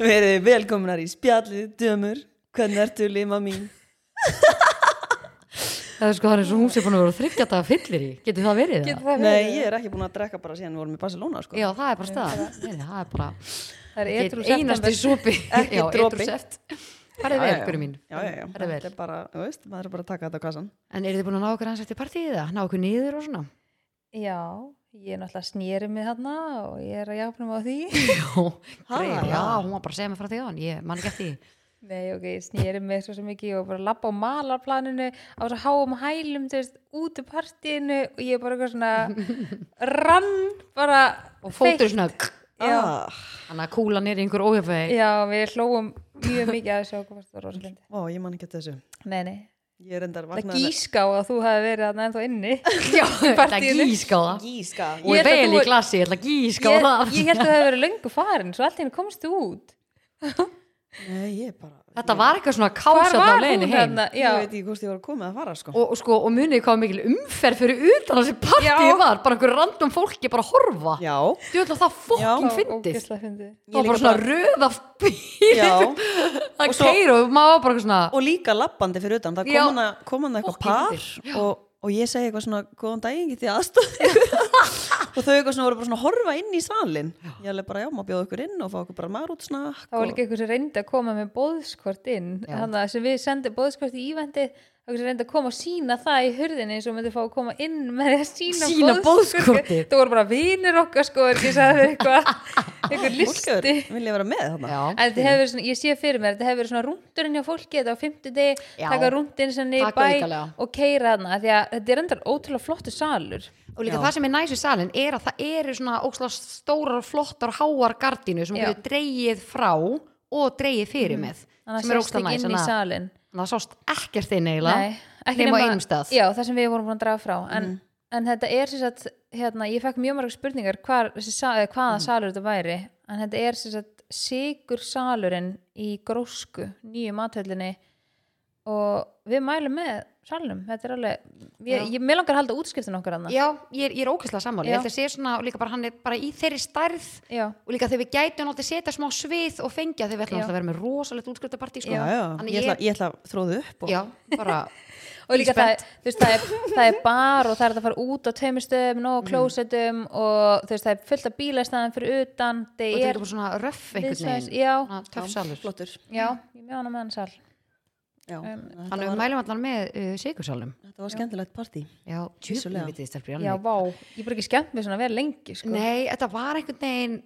Verið velkomnar í spjallið, dömur Hvernig ertu, lima mín? Það er sko, það er svo hún sem búin að vera þryggja daga fyllir í. Getur það verið það? það Nei, ég er ekki búin að drekka bara síðan við vorum í Barcelona sko. Já, það er bara staðan. Nei, nei, Það er bara Það er Ég edrú er einast í súpi. Ekki Já, dropi. edrú seft. Farið vel, hverju mín. Já, já, já, Farið þetta vel. er bara, þú veist, maður er bara að taka þetta á kassan En eru þið búin að ná okkur hans eftir partíið það? Ná okkur niður og svona? Já, ég er náttúrulega snýrið mig þarna og ég er að jafnum á því Já, Ha? já, hún var bara að segja mig frá því á hann. Ég man ekki eftir því. Nei, ok, ég snýrið mig svo sem ekki og bara lappa á malarplaninu á svo háum hælum, þú veist, út í partíinu og ég er bara eitthvað svona rann, bara Og fótur svona, Já, ah, hann að kúla niður í einhver ójöfvegi. já, við hlóum mjög mikið að þessu okkur fyrst og rosalindi. Ó, ég man ekki eftir þessu Nei, nei, Ég er endar það vaknaði gíská að þú hafi verið þarna ennþá inni. Já, það partíinu. gíska á það. Gíska Og Ég ég held að vel þú- í glasi, ég ætla að gíska á Ég, það. ég held að það hefur verið löngu farin, svo allt hérna komst þú út. Nei, ég bara, Þetta var eitthvað svona kásat á leiðinu heim. þarna? Já, ég veit ekki hvort ég var að koma að fara sko og, og sko, og munið hvað mikil umferð fyrir utan þessi partíi Já. var bara einhver random fólki bara að horfa Já, þú ætla það fokkin það var fyndið ógeðslega fyndið. það var bara svona röð af Já, bílum það Og svo- keir og maður var bara eitthvað svona og líka lappandi fyrir utan Það Já. kom hana, kom hana eitthvað Fólk í par undir. og, og ég segi eitthvað svona, góðan daginn, getið aðstofið Og þau eitthvað svona voru bara svona að horfa inn í salin Ég alveg bara, já, má bjóða ykkur inn og fá okkur bara marútsnakk Það var og... líka einhver sem reyndi að koma með bóðskort inn Sko- Já. þannig að sem við sendum bóðskort í ívendi einhver sem reyndi að koma að sína það í hurðinni eins og myndi fá að koma inn með því að sína, Sýna boðskortið. Það voru bara vinir okkar sko er ekki sagði eitthvað einhver Fólk hefur- listi vil ég vera með þarna En þetta hefur verið svona, ég sé fyrir mér, þetta hefur verið svona rúndurinn hjá fólki þetta á fimmtudegi, Já. taka rúndin sem niður í Taka aukalega. bæ og keira þarna því að þetta er endar ótrúlega flottu salur og líka það sem er næs í salin er að það eru svona óksla stórar og flottar háar gardínu sem Já. getur dreigið frá og dreigið fyrir með sem þannig að er sérst óksla næs ekki inn í þannig að- salin þannig að það sást ekkert þinn Nei, eiginlega ekki nema á einum stað Mm. já, það sem við vorum búin að draga frá en, en þetta er sem sagt hérna, ég fekk mjög margar spurningar hvar, þessi sa, eða hvaða Mm. salur þetta væri en þetta er sem sagt sigur salurinn í grósku, nýju mathöllinni og við mælum með salnum, þetta er alveg ég, ég, mér langar að halda útskriftin okkar annað já, ég er, ég er ókvæslega sammáli Já. ég held að sé svona, og líka bara hann er bara í þeirri stærð já, og líka þegar við gætum alltaf setja smá svið og fengja þegar við ætlum Já. alltaf að vera með rosalegt útskriftapartí sko. Já, já, Þannig ég ætla, ég ætla að þróðu upp og... já, bara og líka það, er- þú veist, það, er, það er bar og það er hægt að fara út á taumistöðum Mm. nóg klósetum og þú veist, það er fullt af bílastæðan fyrir utan og það þetta er er bara svona röff einhvern viðsvæðis- veginn já, Svona töff salur Flottur já, ég er mjög ánum með hann sal já, þannig við mælum allan með uh, sigursalum Þetta var skemmtilegt partí já, Vissulega. tjúfnum við því stelpur í Já, alveg. vá, ég bara ekki skemmt mér svona vel lengi sko. nei, þetta var einhvern veginn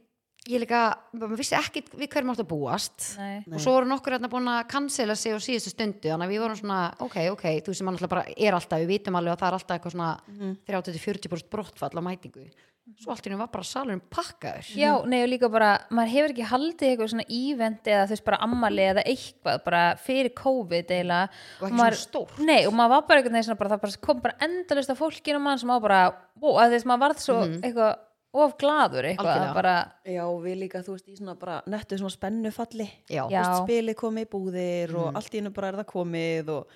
ég líka, maður vissi ekki við hverjum átt að búast Nei. og svo voru nokkur hérna búin að cancela sig á síðustu stundu þannig að við vorum svona, ok, ok þú sem alltaf bara er alltaf, við vitum alveg að það er alltaf eitthvað svona Mhm. 30-40% brottfall á mætingu svo allt í henni var bara salurinn pakkaður Já, nei og líka bara, maður hefur ekki haldið eitthvað svona ívend eða þú veist bara ammali eða eitthvað bara fyrir COVID eiginlega Og ekki maður- svona stórt. Nei, og maður var bara einhvern veginn svona bara, það bara kom bara endalust af fólkinu mann sem á bara, ó, að þess maður varð svo eitthvað of gladur eitthvað Mhm. Algjörlega. bara, Já, við líka, þú veist, í svona bara nettu svona spennufalli Já. Þú Mm. veist, Já. Spilið komið í búðir og allt í hennu bara er það komið og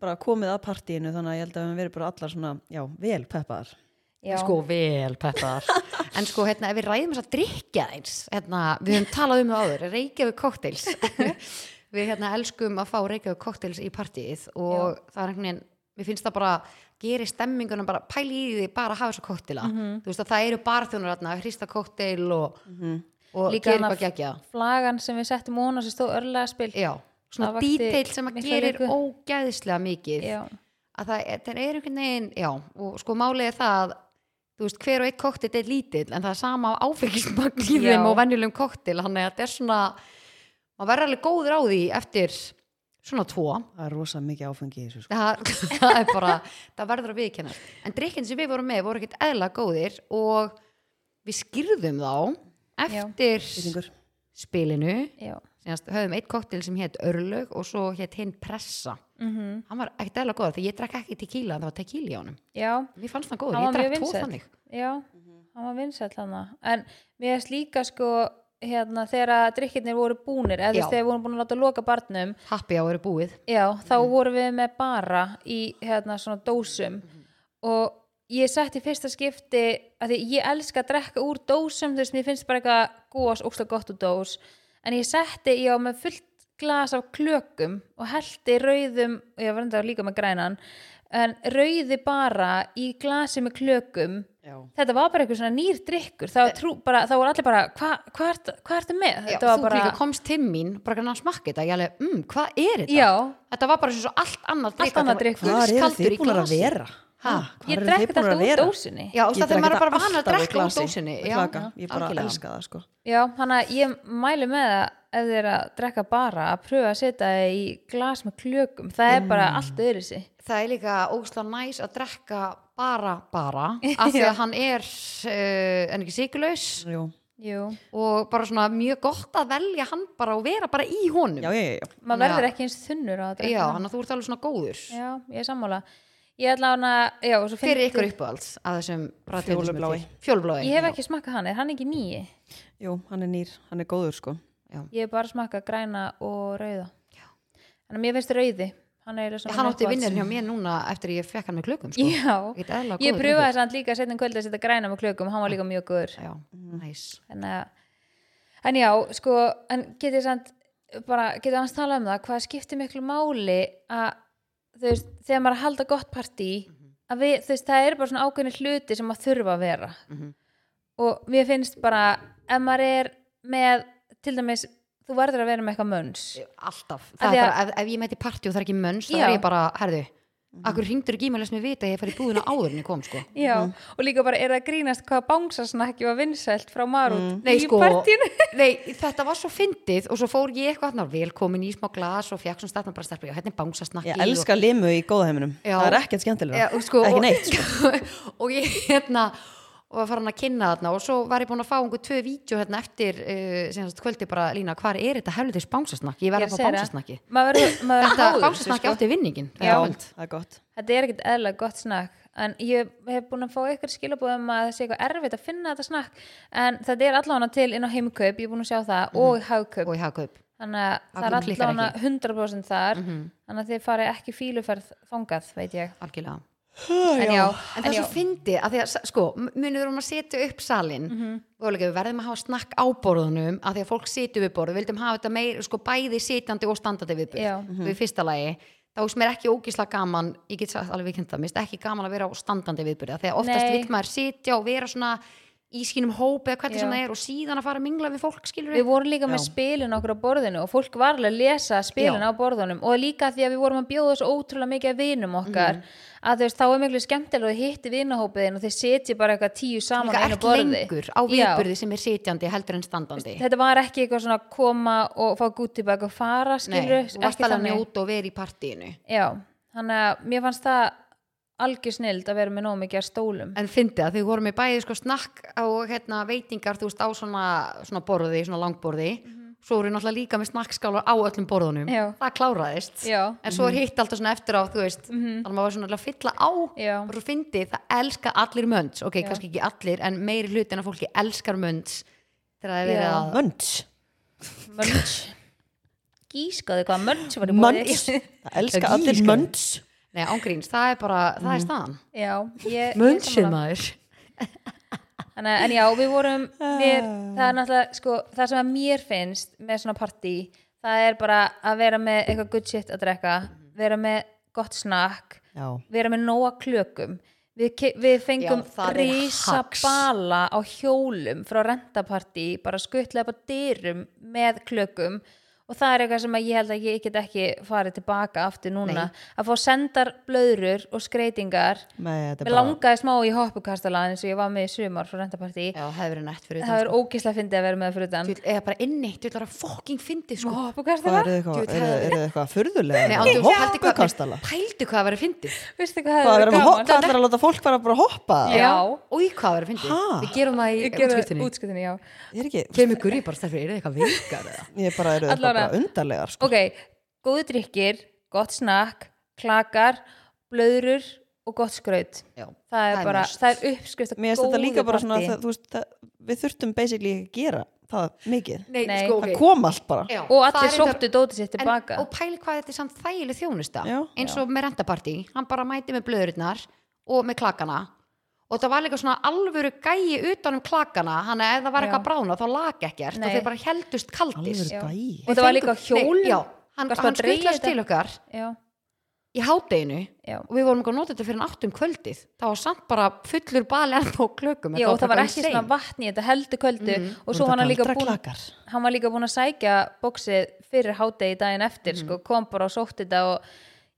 bara komið að partíinu þannig að ég held að við höfum verið bara allar svona, já, vel peppaðar já, sko vel peppar en sko hérna ef við ræðum þess að drikja eins hérna við höfum talað um það áður Reykjavík cocktails við hérna elskum að fá Reykjavík cocktails í partíið og það er einhvern veginn mér finnst það bara geri stemminguna bara pæli í því bara að hafa þess að cocktaila Mhm. þú veist að það eru barþjónur hérna að hrista cocktail og, og Líka gerir hana- bara gegja flagan sem við settum óna sem stóð örlega spil já, Það svona vakti detail sem að mikla gerir lukku. ógæðislega mikið að það er, það er einhvern veginn já, og sko málið er það að þú veist, hver og eitt koktill er lítill en það er sama áfengismagn í Já. þeim og venjulegum koktill, þannig að þetta er svona maður verður alveg góður á því eftir svona tvo Það er rosa mikið áfengi í þessu sko. það, það er bara, það verður að viðkenna en drikkin sem við vorum með voru ekkert eðla góðir og við skýrðum þá Já. eftir Skýringur. spilinu já, Sérst, höfum eitt koktill sem hétt Örlög og svo hétt hinn Pressa Mhm. hann var ekkert eðla góður því ég drakk ekki tequila en það var tequila í honum já Mér fannst það góður, Hann ég var mjög drakk tvo vinsæll. þannig Já, hann var vinsæll hann en mér erst líka sko hérna þegar að drikkirnir voru búnir eða þú veist Já. þegar við vorum búin að láta loka barnum Happy hour er búið já, þá vorum við með bara í hérna svona dósum og ég sett í fyrsta skipti að því ég elska að drekka úr dósum þú veist, mér finnst bara eitthvað gós óslega gott úr dós en ég setti, ég á með fullt glas af klökum og heldi rauðum og ég var enda líka með grænan en rauði bara í glasi með klökum Já. þetta var bara eitthvað svona nýr drikkur það, var trú, bara, það voru allir bara, hvað hva, hva ertu, hva ertu með? Eh. Já, Þetta þú var bara, líka komst til mín bara kannan að smakka þetta, ég alveg, mm, hvað er þetta? Já. Þetta var bara eins og allt annað drikk, annað þetta var drikk. Hvar eru ískaldur þið í búin að glasi. vera? Ha, Hvar ég eru drekk þið búnar þetta að út vera? dósinni Já, og Ég það þegar drekk maður er bara þetta vanað að alltaf úr drekka úr glasi. dósinni. Ég Já, klaka, Ég bara algjörlega. elska það sko Já, hann að ég mæli með það ef þið er að drekka bara að pröfa að setja það í glas með klökum það er Mm. bara allt öðru sig það er líka ógslag næs að drekka bara, bara af því að hann er uh, en ekki sigurlaus Jú. Jú, og bara svona mjög gott að velja hann bara og vera bara í honum Já, já, já, já. maður Þannig að- verður ekki eins þunnur á að drekka Já, það. þannig að þú ert alveg svona góður Já, ég er sammála Ég ætla hann að já, og svo fyrir fyndi- ykkur uppáhalds að þessum Fjólublái. fjólublái Ég hef ekki smakkað hann, er hann ekki nýi? Jú, hann er nýr, hann er góður sko Ég hef bara smakkað græna og rauða Já Þannig að mér finnst rauði Hann, er eiginlega svona hann minn átti uppáhalds. vinnirinn hjá mér núna eftir að ég fekk hann með klökum sko. Já, Ekkert eðlilega ég góður pröfaði samt líka setna um kvöldi að setja græna með klökum Hann var líka mjög góður drikkur. já, Mhm. næs en, eh, en já, sko en getið samt bara, getið annars talað um það hvað skiptir miklu máli að þú veist, þegar maður er að halda gott partí að við, þú veist, það eru bara svona ákveðni hluti sem maður þurfa að vera Mhm. og mér finnst bara ef maður er með til dæmis, þú verður að vera með eitthvað mönns alltaf, Af það því er að- bara ef, ef ég mæti í partí og það er ekki mönns, það Já. Mhm. er ég bara, herðu akkur hringdur ekki í mig að lesa mér vita að ég fær í búðina áður en ég kom sko. Já, og líka bara er það að grínast hvað bangsasnakki var vinsælt frá Marút Nei, í sko, partínu nei, þetta var svo fyndið og svo fór ég eitthvað þarna velkomin í smá glas og fekk svona stafna bara stelpa, já, hérna er bánsasnakki Ég elska limu í góðaheiminum Já. Það er ekkert skemmtilega og, já, sko, Ekki neitt og, og ég hérna og var farin að kynna þarna og svo var ég búin að fá einhver tvö vídeo hérna eftir uh, senast kvöldi bara, Lína, hvar er þetta helvitis bánsasnakki? Ég verði að fá segir það. bánsasnakki Maður verður- maður verður Þetta háður þessu, bánsasnakki sko. átti vinningin Já. Já, það er gott Þetta er ekkert eðlilega gott snakk en ég hef búin að fá ykkur skilabóð um að það sé eitthvað erfitt að finna þetta snakk en þetta er allavega til inn á heimkaup ég er búin að sjá það Mhm. og hagkaup og ég hafa kaup þannig að það er Hagkaup klikkar allavega 100% þar Mhm. þannig að þið farið ekki fíluferð þangað veit ég algjörlega en já, En en það er já, svo fyndið að því að, sko, munið um að setja upp salin mm Mhm. -hmm. og líka, við verðum að hafa snakk á borðunum að því að fólk setjum við borð, við vildum hafa þetta meir, sko, bæði sitjandi og standandi við Já. borð, við fyrsta lagi þá veist mér ekki ógísla gaman, ég get sagt alveg viðkynnt það, mér finnst ekki gaman að vera á standandi viðbyrða þegar oftast Nei. vill maður sitja og vera svona í skínum hópi eða hvernig Já. sem það er og síðan að fara að mingla við fólk skilur við vorum líka með spilin okkur á borðinu og fólk var alveg að lesa spilin Já. á borðunum og líka því að við vorum að bjóða svo ótrúlega mikið að vinum okkar Mhm. að þú veist, þá er miklu skemmtilega að hitti vinahópiðin og þið setji bara eitthvað tíu saman á líka einu ert borði lengur á Já. viðbyrði sem er sitjandi heldur en standandi þetta var ekki eitthvað svona að koma og fá gutti bak og fara Nei, skilur þú varst alveg að njóta og vera í partíinu já, þannig að mér fannst það algjör snild að vera með nóg mikið að stólum En fyndið að þau voru með bæði sko snakk og hérna, veitingar, þú veist, á svona, svona borði, svona langborði svo voru náttúrulega líka með snakkskálar á öllum borðunum Mhm. Já. það kláraðist Já. Mhm. en svo er hitt alltaf svona eftir á, þú veist þannig að maður var svona alveg að fylla á Já. og svo fyndið, það elska allir mönns ok, kannski ekki allir, en meiri hluti en að fólki elskar mönns þegar það er verið Já. að Mönns mönns gískaðu hvað mönns var í bóði Mönns Það Já, elska allir gíska. mönns Nei, ángríns, það er bara, það er staðan já, ég- ég Mönnsið sammála. maður Þannig, að- en já, við vorum mér, það er náttúrulega, sko, það sem að mér finnst með svona partí, það er bara að vera með eitthvað good shit að drekka vera með gott snakk Já, vera með nóa klökum við, ke- við fengum Já, það er hacks. risabala á hjólum frá rentapartí, bara skuttlega bara dyrum með klökum og það er eitthvað sem að ég held að ég get ekki farið tilbaka aftur núna að fá sendar blöðrur og skreitingar með þetta mér bara langaði smá í hoppukastala eins og ég var með í sumar frá rentapartí Já, það hefur verið nætt fyrir það utan, er ógislega fyndið að vera með það fyrir utan sko. eða bara inni, þú ætlar að fucking fyndið sko Hvað hoppukastala, er eitthvað, Djöfull, er það- þið eitthvað furðulega? Nei, ándu, pældu hvað, Hoppukastala nei, pældu hvað að vera fyndið veistu Hvað hvað það er er með gaman hoppa allar að láta fólk bara bara hoppa? Já. Og í hvað að vera fyndið Ha? Við gerum það í Ég gerði- útskiptinni útskriftinni, já Ég er ekki, Kemur gurri bara stærfið, er það eitthvað veikar eða? ég bara eru þetta Allavega. bara undarlegar sko. Ok, góðu drikkir, gott snakk, klakar, blöðrur og gott skraut. Já, Það er, það er bara, mest. það er uppskrift að Mér finnst þetta góðu líka bara svona partí. það, þú veist, það, Við þurftum basically ekki að gera það mikið Nei, Nei. sko, Það ok kom allt bara Já, Og það allir er reyndar- sóttu dótið sitt tilbaka. en, Og pæli hvað þetta er samt þægileg þjónusta Já. Eins og með rentapartí Hann bara mæti með blöðurinnar og með klakana og það var líka svona alvöru gæi utan um klakana, hann að ef það var Já. eitthvað að brána þá lak ekkert og Nei. þeir bara heldust kaldir Alvöru Já. gæi. og það var líka á hjólum. Nei, já, hann, Varstu að hann dreyja skutlast þetta? til okkar já, í hádeginu já. og við vorum ekki að nota þetta fyrir en áttum kvöldið það var samt bara fullur bali ennþá á klökum Já, og það var bara ekki insane. svona vatn í þetta heldur kvöldu og svo Voru var hann þetta líka galdra búin klakar? hann var líka búin að sækja bóksið fyrir hádegi daginn eftir sko, kom bara og sótti þetta og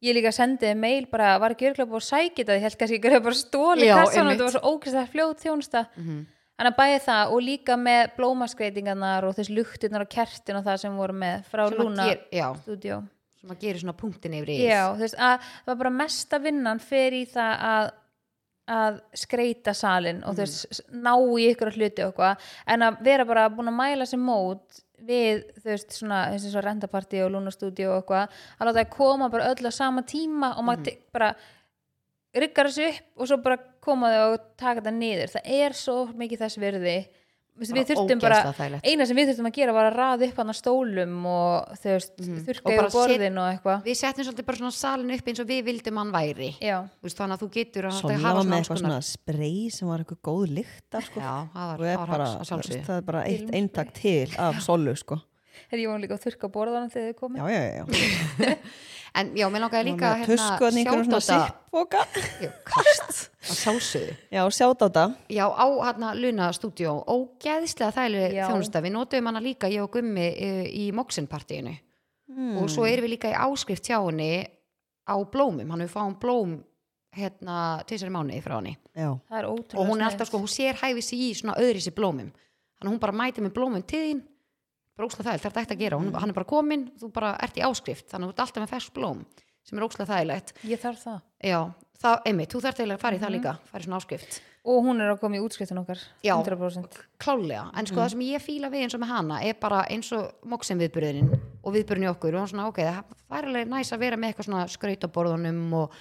ég líka sendiði mail bara, var ekki örgulega búin að sækja þetta ég held kannski ekki að bara stóli Já, kassan og einmitt. þetta var svo ógæslega fljóð þjónusta Mhm. þannig að bæði það og líka með blómaskreitingarnar og þess luktirnar og kertin og það sem voru með frá Sem að Luna ger- já, stúdíó sem að gera svona punktin yfir í Já, þú veist, að, það var bara mesta vinnan fyrir í það að að skreita salin Mm. og þú veist, s- ná í ykkur hluti og eitthvað en að vera bara búin að mæla sér mót við, þú veist, svona eins og svo rendapartí og lúnastúdíu og eitthvað að láta það koma bara öll á sama tíma og maður Mm. te- bara riggar þessu upp og svo bara koma þau og taka þetta niður, það er svo mikið þess virði Þú veist, við Bara þurftum bara, ógeðslega þægilegt. eina sem við þurftum að gera var að raða upp hann á stólum og þú veist, þurrka Mm. Og bara yfir set- borðin og eitthvað við settum svolítið bara svona salin upp eins og við vildum hann væri Já, Þú veist, þannig að þú getur að Sonja hafa var með svona alls eitthvað konar svona sprey sem var eitthvað góð lykt af sko. já, það og var, er var bara, hans að sjálfsögðu það er bara eitt eintak til af solu sko. Þegar ég var líka að þurrka borðanum þegar þið komið. Já, já, já, já. en já, mér langaði líka hérna, að hérna, Tuskuðan ykkur svona sjáta sippfoka. kast að sjálfsögðu Já, sjátt á það. Já, á hérna Luna stúdíó ógeðislega þægileg Já. þjónusta við notum hana líka, ég og Gummi eh, í Moxinpartíinu og svo erum við líka í áskrift hjá henni á blómum, hann við fáum blóm hérna tísari mánuði frá henni Já, Það er ótrúlega og hún er sniðugt. alltaf sko, hún sér hæfi sig í svona öðri sér blómum þannig að hún bara mæti með blómum til þín bara ókslega þægilegt, það er þetta ekki að gera hún, hann er bara komin, þú bara ert í áskrift þannig að þú ert alltaf með fersk blóm sem er ókslega þægilegt Ég þarf það. já, það, einmitt, þú þarft eiginlega að fara í það líka fara í svona áskrift Og hún er að koma í útskiptin okkar. Já. 100%. klálega, en Mm. sko það sem ég fíla við eins og með hana er bara eins og moksin viðburðin og viðburðin í okkur og svona ok, það það er alveg næs að vera með eitthvað svona skrautaborðunum og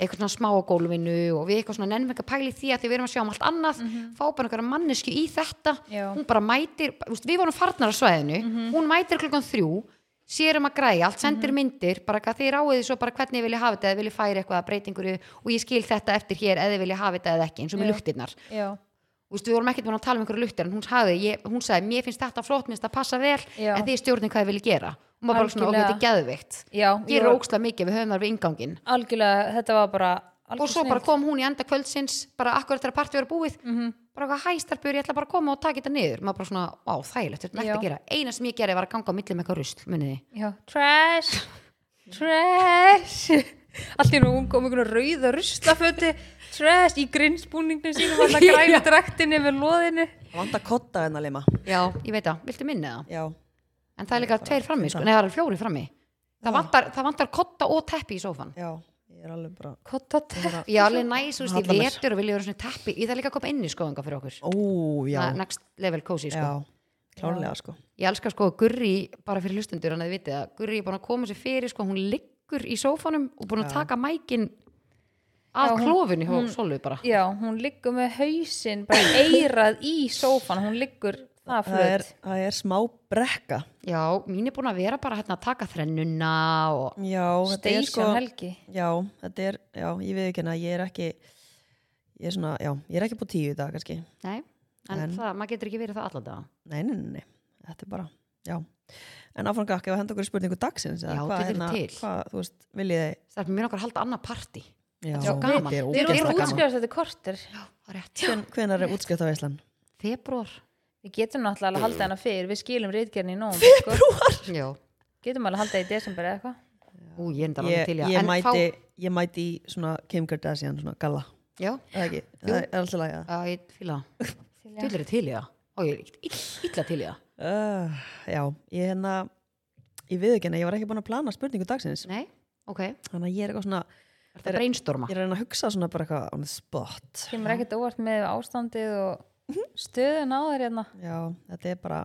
eitthvað svona smá á gólfinu og við eitthvað svona nennum ekki að pæli því að því við erum að sjá um allt annað fá bara einhverja mannesku í þetta Mhm. Já. Mhm. hún bara mætir, úst, við vorum farnar á svæðinu hún mætir klukkan þrjú sérum að græja allt, sendir myndir bara hvað þið ráðið svo bara hvernig þið vilja hafa þetta eða vilja færa eitthvað að breytingur og ég skil þetta eftir hér eða þið vilja hafa þetta eða ekki eins og með Já. luktirnar Já. Þú veist, við vorum ekkert búin að tala um einhverju luktir en hún sagði, ég, hún sagði, mér finnst þetta flott mér finnst það passa vel, Já. en þið stjórnir hvað þið vilja gera og maður bara svona, ok, Algjörlega. þetta er geðvikt Já. ég er ókslega mikið, við höfum þar við ingangin Algjörlega, þetta var bara... og svo bara kom hún í enda kvöldsins bara akkurat þegar partí verið búið Mhm. bara eitthvað hæstarpur, ég ætla bara að koma og taka þetta niður maður bara svona, á, þægilegt, þetta er Já. nægt að gera eina sem ég gerði var að ganga á milli með eitthvað rusl muniði. Já. Trash. Trash. Allt í nú hún kom einhvern rauða ruslaföti. Trash. Í grinsbúninginu sínum var það græn draktinni með loðinu. vanda kotta en að lima. Já, ég veit það, viltu minni það? Já, En það er líka tveir frammi, sko, nei það er fjóri frammi Það vantar, það vantar kotta og teppi í sófan já, ég er alveg bara... Kotta tepp. Já, alveg næs, þú veist, ég Hallar mér. vetur og vilja vera svona teppi Ég þarf líka að koma inn í skóðinga fyrir okkur Ó, já, Na, Next level cozy, sko já, klárlega sko. Ég elska sko að Gurri, bara fyrir hlustundur hann að þið vitið að Gurri er búin að koma sér fyrir sko, hún liggur í sófanum og búin að taka mækin að Já, hún- klófinu hún, Solu bara Já, hún liggur með hausinn, bara eirað í sófan. Hún liggur það Það er, flöt. það er smá brekka. Já, mín er búin að vera bara hérna að taka þrennuna og Já, þetta er Station sko... helgi. Já, þetta er, já, ég veit ekki að ég er ekki, ég er svona, já, ég er ekki búið tíu í dag kannski. Nei, en, það, maður getur ekki verið það allan daga Nei, nei, nei, nei, þetta er bara, já. En áfram gakk, ef að henda okkur í spurningu dagsins, eða Já, hvað, hérna- þetta er til. hvað, þú veist, viljið þið, Það er mér okkar að halda annað partí já, svo gaman. þetta er Við erum ógeðslega gaman. útskjöðast þetta kortir. Já, það er rétt Hven- Hvenær er útskjöftaveislan? Februar Við getum náttúrulega alveg að halda hana fyrir, við skilum reitgerðin í nógum. Sko. Já, Getum alveg að halda í desember eða eitthvað. ú, ég enda alveg Ég, til í að- ég, en fá- mæti, ég mæti í svona Kim Kardashian, svona galla, Já, eða ekki, það er alltaf lagið það. já, ég fíla það Þú er til í það Ó, ég er ill- illa til í það Uh, já, ég hérna, ég við ekki, ég var ekki búin að plana spurningu dagsins, Nei, ok, er þannig að ég er eitthvað svona, það brainstorma ég er að reyna að hugsa svona bara eitthvað on the spot. Kemur ekkert óvart með ástandið og stöðun á þér hérna, Já, þetta er bara,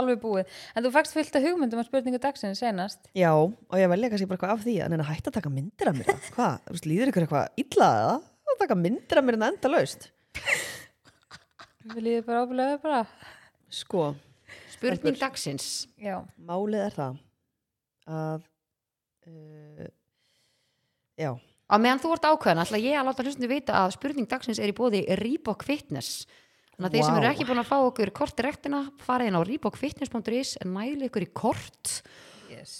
alveg búið. En þú fækst fullt af hugmyndum að spurningu dagsins senast. Já, og ég velja kannski bara eitthvað af því en en að hætta að taka myndir af mér það. Hvað, þú veist, líður ykkur eitthvað illa eða? Að taka myndir af mér en það enda laust Við líðum bara ábúlega bara. Sko, Spurning dagsins Já, málið er það að uh, já, á meðan þú ert ákveðan ætla ég að láta hlustinu vita að spurning dagsins er í bóði Reebok Fitness þannig að þeir sem Vá. eru ekki búin að fá okkur kort rektina farið inn á reebokfitness.is en mæli ykkur í kort yes.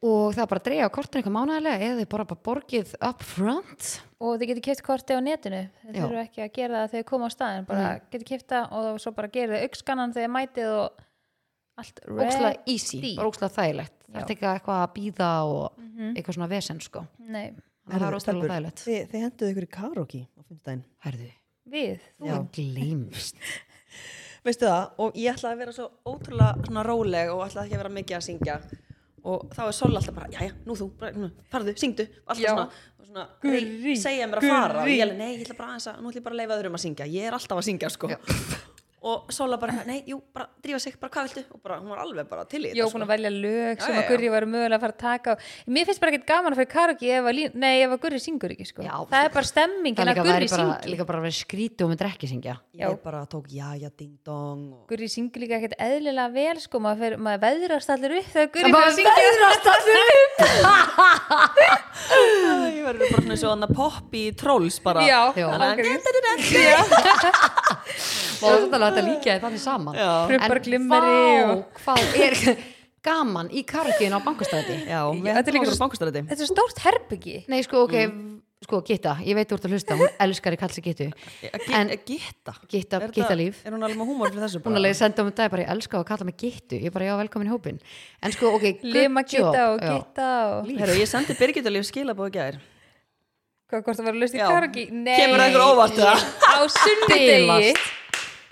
og það er bara að dreigja á kortinu eitthvað mánægilega eða þið bara, bara borgið up front og þið getur keft korti á netinu þið Já. þurfum ekki að gera það þegar þið koma á staðin bara mm. getur kefta og þá svo bara gera þið aukskannan þegar þið mætið og allt ókslega ready. easy, bara ókslega þægilegt það er ekki eitthvað að býða og eitthvað svona vesen sko Nei, Þannig að það er Herðu, ókslega stelpur, þægilegt Þið, þið henduðu ykkur í karaoke á fimmtudaginn. Herðu, við, þú er gleymst Veistu það? Og ég ætlaði að vera svo ótrúlega svona róleg og ætlaði ekki að vera mikið að syngja. Og þá er Sol alltaf bara, jæja, nú þú, bara, nú, farðu, syngdu, alltaf Já. svona, og svona Gurrí, rey- segja mér að fara. Og gurrí. ég alveg, nei, ég ætla bara aðeins að, nú ætla ég bara að leifa öðrum að syngja. Ég er alltaf að syngja, sko. Og Sola bara, nei, jú, bara drífa sig, bara hvað viltu? Og bara, hún var alveg bara til í ég þetta, sko. var búin að velja lög sem Já, að já. Gurri var mögulega að fara að taka og... mér finnst bara ekkert gaman að fyrir karaoke ef að, lín... nei, ef að Gurri syngur ekki sko. Já. það er bara það stemmingin að líka Gurri væri bara, syngi líka bara að vera skríti og myndir ekki syngja Ég bara tók, jæja, ding dong. Og... Gurri syngur líka ekkert eðlilega vel sko, maður, fer, maður veðrast allir upp þegar En Gurri fyrir bara að syngja veðrast allir upp Æ, Ég verður bara svona svona poppi trolls bara. já, Já. algjörlega. og þannig að þetta líka er þannig saman Já. Prumpar glimmeri vá, og- hvað er gaman í kargin á bankastæði Já, við Þetta er ætlum líka okkur svo- á bankastræti. þetta er stórt herbyggi nei sko ok, Mm. sko Gitta, ég veit þú ert að hlusta hún elskar í kalsi Gittu En En- eh, Gitta Gitta, Er Gitta þetta- líf Er hún alveg með húmor fyrir þessu hún alveg sendi á mig dag bara ég elska að kalla mig Gittu ég bara já velkomin í hópin en sko ok, good lima job, geta og já. geta og Heru, ég sendi Birgit alveg skilabóð í gær hvað hvort það var að löst í Já. karaoke Nei. Kemur það einhver óvart, eða? á sunnudegi Bilast.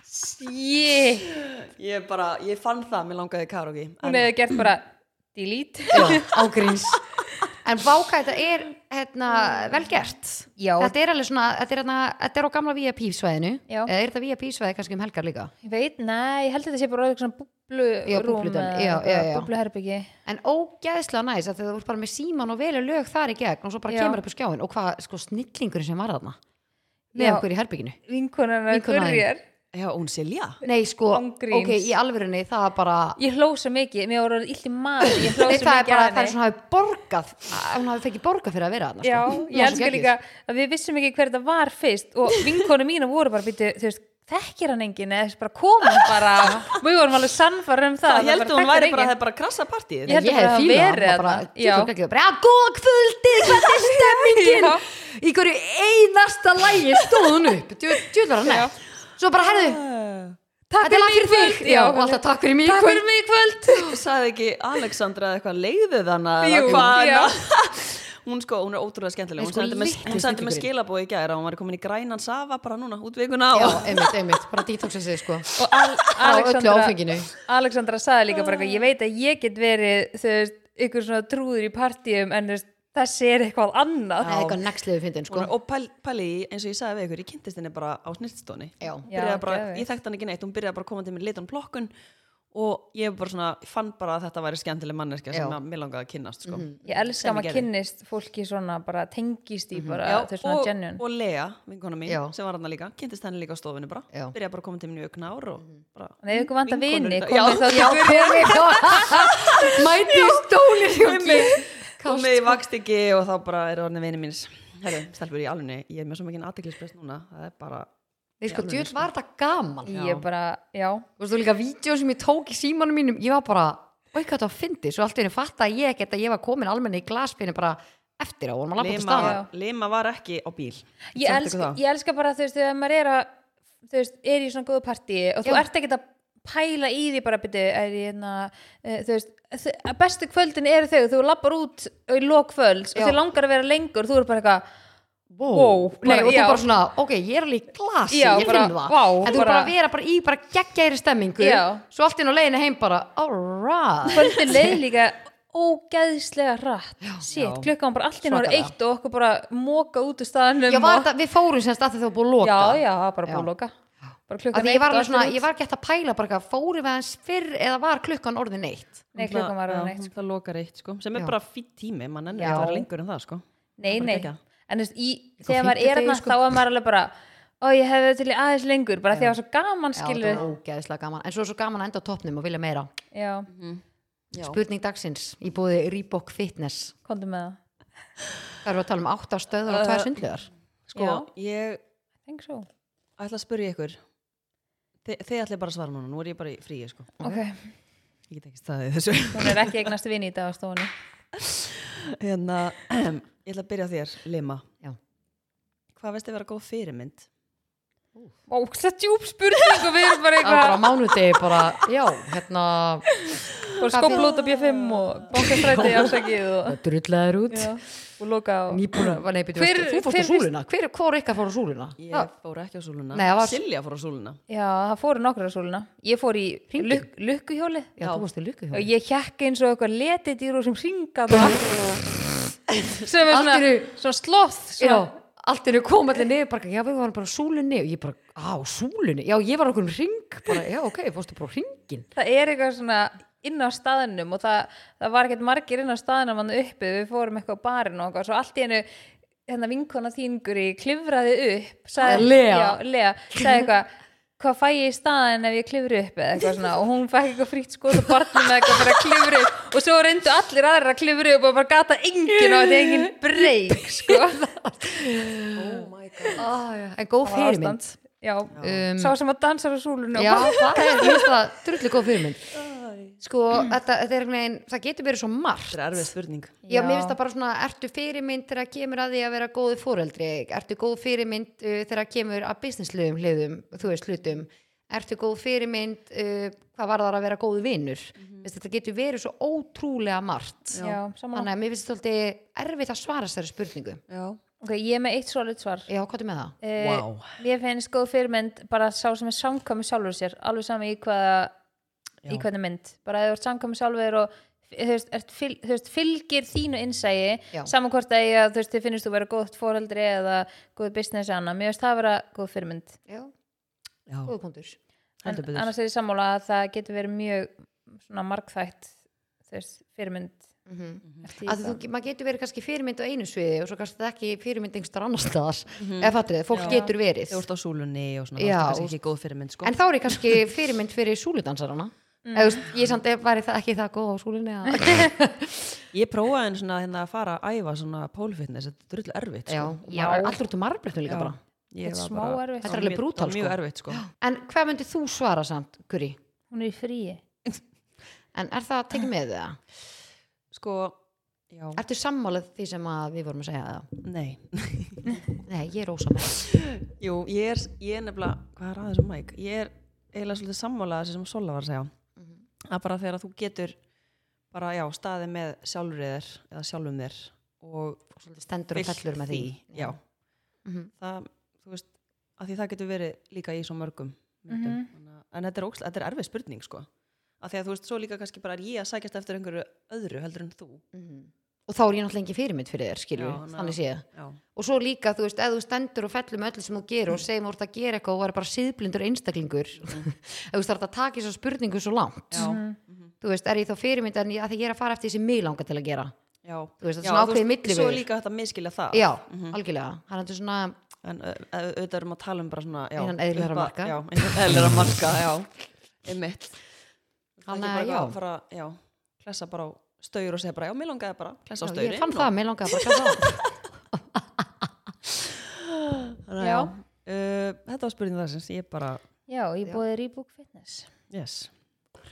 Shit. Ég bara, ég fann það, mér langaði í karaoke hún hefði gert bara delete Já, ágríns en váka, þetta er hérna, vel gert Já. þetta er alveg svona, þetta er, hérna, þetta er á gamla VIP svæðinu, Já. eða er þetta VIP svæði kannski um helgar líka, Ég veit, nei, ég held að þetta sé bara orðið svona Já, búblurúm búbludæmi, já, já, já. búbluherbyggi en ógeðslega næs að þú ert bara með síman og velja lög þar í gegn og svo bara Já. kemur upp á skjáin og hvað, sko, snillingurinn sem var þarna með Já. okkur í herbygginu vinkonan að Vinkonan. gurjar Já, hún Silja nei, sko, Ángríns. ok, í alvörunni það er bara ég hló svo mikið, mér voru illt í maður ég hló Nei, svo það er mikið bara, það er að henni svona hafi borgað hún hafi fekk borgað fyrir að vera þarna Já, sko. ég elska líka að við vissum ekki hver þetta var fyrst og vinkonu mína voru bara býtu, þú veist, þekkir hann enginn eða þessi bara komum bara við vorum alveg sannfæra um Það það það heldur hún væri bara, þekkir það er bara krassa partíð Ég held ég, ég bara hef að fílað verið hann, bara, þarna. Já. tjóðum ekki, bara, já, góða kvöldið, hvað er stemmingin Já. í hverju einasta lægi stóð hún upp, tjóðum var hann Já. nett svo bara, herðu, Takk þetta er lag mig í fyrir þig kvöld, já, og alltaf takk fyrir mig Takk fyrir mig í kvöld Saði ekki Alexandra eða eitthvað leiðið hana eða Jú, hvað já. hana- Hún sko, hún er ótrúlega skemmtileg Nei, Hún sko, sendi með, litli hún sendi með snillingurinn. skilabóð í gær að hún var komin í grænan safa bara núna, út vikuna já, og einmitt, einmitt, bara detoxa sig sko og Al öllu Alexandra, áfenginu. Alexandra saði líka bara eitthvað, ég veit að ég get verið þú veist, ykkur svona trúður í partíum en þú veist, þessi er eitthvað annað það er eitthvað nextlegu fyndin sko Hún er- Og pæl- pæli, í, eins og ég sagði við ykkur, ég kynntist henni bara á snirtstóni Já. Já, bara, geðveikt. Ég þekkti hann ekki neitt, hún byrjaði bara að koma til mér litan plokkun og ég bara svona, fann bara að þetta væri skemmtileg manneskja Já. Mhm. sem að mér langaði að kynnast sko. ég elska Sem að ég maður gerði. kynnist fólki svona bara tengist í bara Já, þú veist, svona genuine og, og Lea, vinkona mín, Já. sem var hann líka kynntist henni líka á stofinu bara, Já. Mhm. byrjaði bara að koma til mér í augnár og bara Þannig ef ykkur vantar vinkonur vini, í dag. komið þá til Gurri. komið mæti í stóli sko. komið í vakstiki og þá bara eru orðin vini mín Herru, stelpur í alunni, ég er með svo mikið aðtiklisprest núna, það er bara Nei, sko, djöld var þetta gaman ég bara, já og þú líka vídeo sem ég tók í símanum mínum ég var bara, oi hvað þetta var fyndið svo allt í henni fatta ég ekkert að ég var komin almenni í glaspinu bara eftir á, og maður lappa til Lima, staðar Já. Lima var ekki á bíl ég Samt elska, ykkur það. ég elska bara þú veist, þegar maður er að þú veist, er í svona góðu partíi og þú Já. ert ekkert að pæla í því bara byrju, er ég hérna eh, þú veist, þ- að bestu kvöldin eru þau þú lappar út í lókvölds og Já. þau langar að vera lengur, þú eru bara eitthvað wow. Wow, Nei, bara- og þú já. bara svona, ok, ég er alveg í glasi Já, ég bara, finn það, vá, en þú bara, bara bara- að vera bara í bara geggjæri stemmingu Já. svo allt í henni á leiðinu heim bara alright kvöldin leið líka ógeðslega rætt Já. shit, klukkan var bara allt í náður Svakalega. eitt og okkur bara móka út úr staðanum Já, var og- þetta, við fórum semst að því það var búið að loka já, já, það var bara Já. búið að loka bara Af klukkan því ég var og alveg allir svona, út. ég var gett að pæla bara eitthvað, fórum við aðeins fyrr eða var klukkan orðin eitt nei, klukkan var Já, að neitt Það lokar eitt sko, sem er Já. bara fýtt tími, mann ennur Já. að vera lengur en það sko Nei, Bara nei, geggjað. en þú veist, í, Sko, þegar maður er fimmtudegi, hérna sko. þá er maður alveg bara ó, ég hefði til í aðeins lengur, bara því að það var svo gaman Já, það skilur var ógeðslega gaman, en svo er svo gaman að enda á toppnum og vilja meira Já, Já. Spurning dagsins í bóði Reebok Fitness komdu með það Það eru að tala um átta stöðar og tvær Uh, sundlegar Sko, Já. ég I think so ætla að spyrja ykkur Þi, Þið ætla bara að svara núna, nú er ég bara í fríi sko. ok, Ég get ekki staðið í þessu hún er ekki eignast vinn í dag á stofunni hérna, Ég ætla að byrja á þér, Lima Já. Hvað veist þið vera góð fyrirmynd? ókslega djúb spurning og við erum Það er bara bara eitthvað á mánudegi bara, já, hérna bara skopla út á B5 og bóka stræti afsakið og, drullaður út já, og loka og Nýbúna, var nei, byrju, Hver- varstu- þú fórst á hver- súluna Hver, hvor ykkar fór á súluna? Ég Já, fór ekki á súluna Nei, það var- Silja fór á súluna já, það fóru nokkra súluna ég fór í Hringinn? luk lukkuhjóli já, þú varst í lukku hjá og ég hjekk eins og eitthvað letið dýr og sem ringað sem er svona, Allt í einu- svona sloth Já, svona, allt er kom allir niður bara, já, við varum bara á súlunni og ég bara, á, súlunni, já, ég var okkur um ring bara, já, ok, fórstu bara á ringin það er eitthvað svona inn á staðnum og það, það var ekkert margir inn á staðnum hann uppi, við fórum eitthvað á barinn og eitthvað, svo allt í einu hérna vinkona þíngur í klifraði upp sagði, Lea. já, Lea, sagði eitthvað hvað fæ ég í staðin ef ég klifri upp eða eitthvað svona og hún fæk eitthvað frítt skoð og barnum með eitthvað fyrir að klifri upp og svo reyndu allir aðrir að klifri upp og bara gata enginn og þetta er enginn breyk sko Oh my god Ah, En góð fyrirmynd já, Um, sá sem að dansar á súlunum Já, það er mér finnst það drullu góð fyrirmynd Sko, þetta, þetta er einhvern veginn það getur verið svo margt Þetta er erfið spurning Já, mér Já. finnst það bara svona, ertu fyrirmynd þegar kemur að því að vera góði fóreldri ertu góð fyrirmynd uh, þegar kemur að businessluðum hliðum, þú veist hlutum ertu góð fyrirmynd uh, hvað var það að vera góði vinnur mm þetta getur verið svo ótrúlega margt já, saman þannig að mér finnst þetta alltaf erfitt að svara þessari spurningu Já ok, ég er með eitt svo svar Já, hvað er með það? Eh, Vá. Mér finnst góð fyrirmynd bara sá sem er samkvæmi sjálfur sér alveg sama í hvaða í hvernig mynd, bara ef þú ert samkvæmi sjálfur og þú veist, ert, fyl, þú veist, fylgir þínu innsæi, Já. saman hvort að ég, þú veist, þið finnst þú vera góð foreldri eða góð business eða annað, mér finnst það vera góð fyrirmynd Já, Já, góð punktur en, heldur betur annars er ég sammála að það getur verið mjög svona margþætt þú veist, fyrirmynd mm -hmm. Mhm. eftir að það. þú, maður getur verið kannski fyrirmynd á einu sviði og svo kannski það ekki fyrirmynd einhverstar annar staðar ef fattur þið, fólk Já. getur verið Þú ert á súlunni og svona Það Já, er kannski og- ekki góð fyrirmynd sko En þá er ég kannski fyrirmynd fyrir súludansarana mm. Eðust, Ég samt ef væri það ekki það góð á súlunni að... Ég prófaði en svona hérna að fara að æfa svona pólfitness, þetta er drullu erfitt Já, sko. já. allur út um marblettum líka Já. bara Ég var Þetta er smá bara- erfitt. Það Þetta var er alveg mjög- brútal, það var Mjög sko. erfitt sko En hvað myndir þú svara samt, Guri? hún er í fríi En er það tekið með þið það? Sko, já, Ertu sammálið því sem að við vorum að segja það? nei Nei, ég er ósammála Jú, ég er, ég er nefnilega, hvað er aðeins um mæk? Ég er eiginlega svolítið sammála þessi sem Sola var að segja að bara þegar þú getur bara, já, staðið með sjálfur þér eða sjálfum þér og Stendur og vilt fellur með því Já, Mhm. það, þú veist, að því það getur verið líka í svo mörgum myndum Mhm. Þannig að- En þetta er, óksla, þetta er erfið spurning, sko að því að þú veist, svo líka kannski bara er ég að sækjast eftir einhverju öðru heldur en þú Mhm. Og þá er ég náttúrulega ekki fyrirmynd fyrir þér, skilur Já, ná. Þannig séð Já, og svo líka, þú veist, ef þú stendur og fellur með öllu sem þú gerur og segir mér að gera eitthvað og væri bara síðblindur einstaklingur ef þú starft að taka þessar spurningu svo langt já, Mhm. þú veist, er ég þá fyrirmynd en ég, að því ég er að fara eftir því sem mig langar til að gera já Þú veist, þetta er Já, þú svona ákveðið veist, millivegur. Svo er líka þetta að miskilja það já, algjörlega, hann er þetta svona En au- au- auðvitað erum að tala um bara svona já, Innan eðlilegra upp að- marka. Já, innan eðlera marka, já Einmitt Það er Þannig ekki bara að, já. að fara, já Klessa bara á staur og segja bara Já, mér langaði bara að klessa á já, staurinn ég fann það, mig langar bara að gera það Þannig að, Já. Uh, Þetta var spurning það sem ég bara já, ég búið Rebook Fitness yes.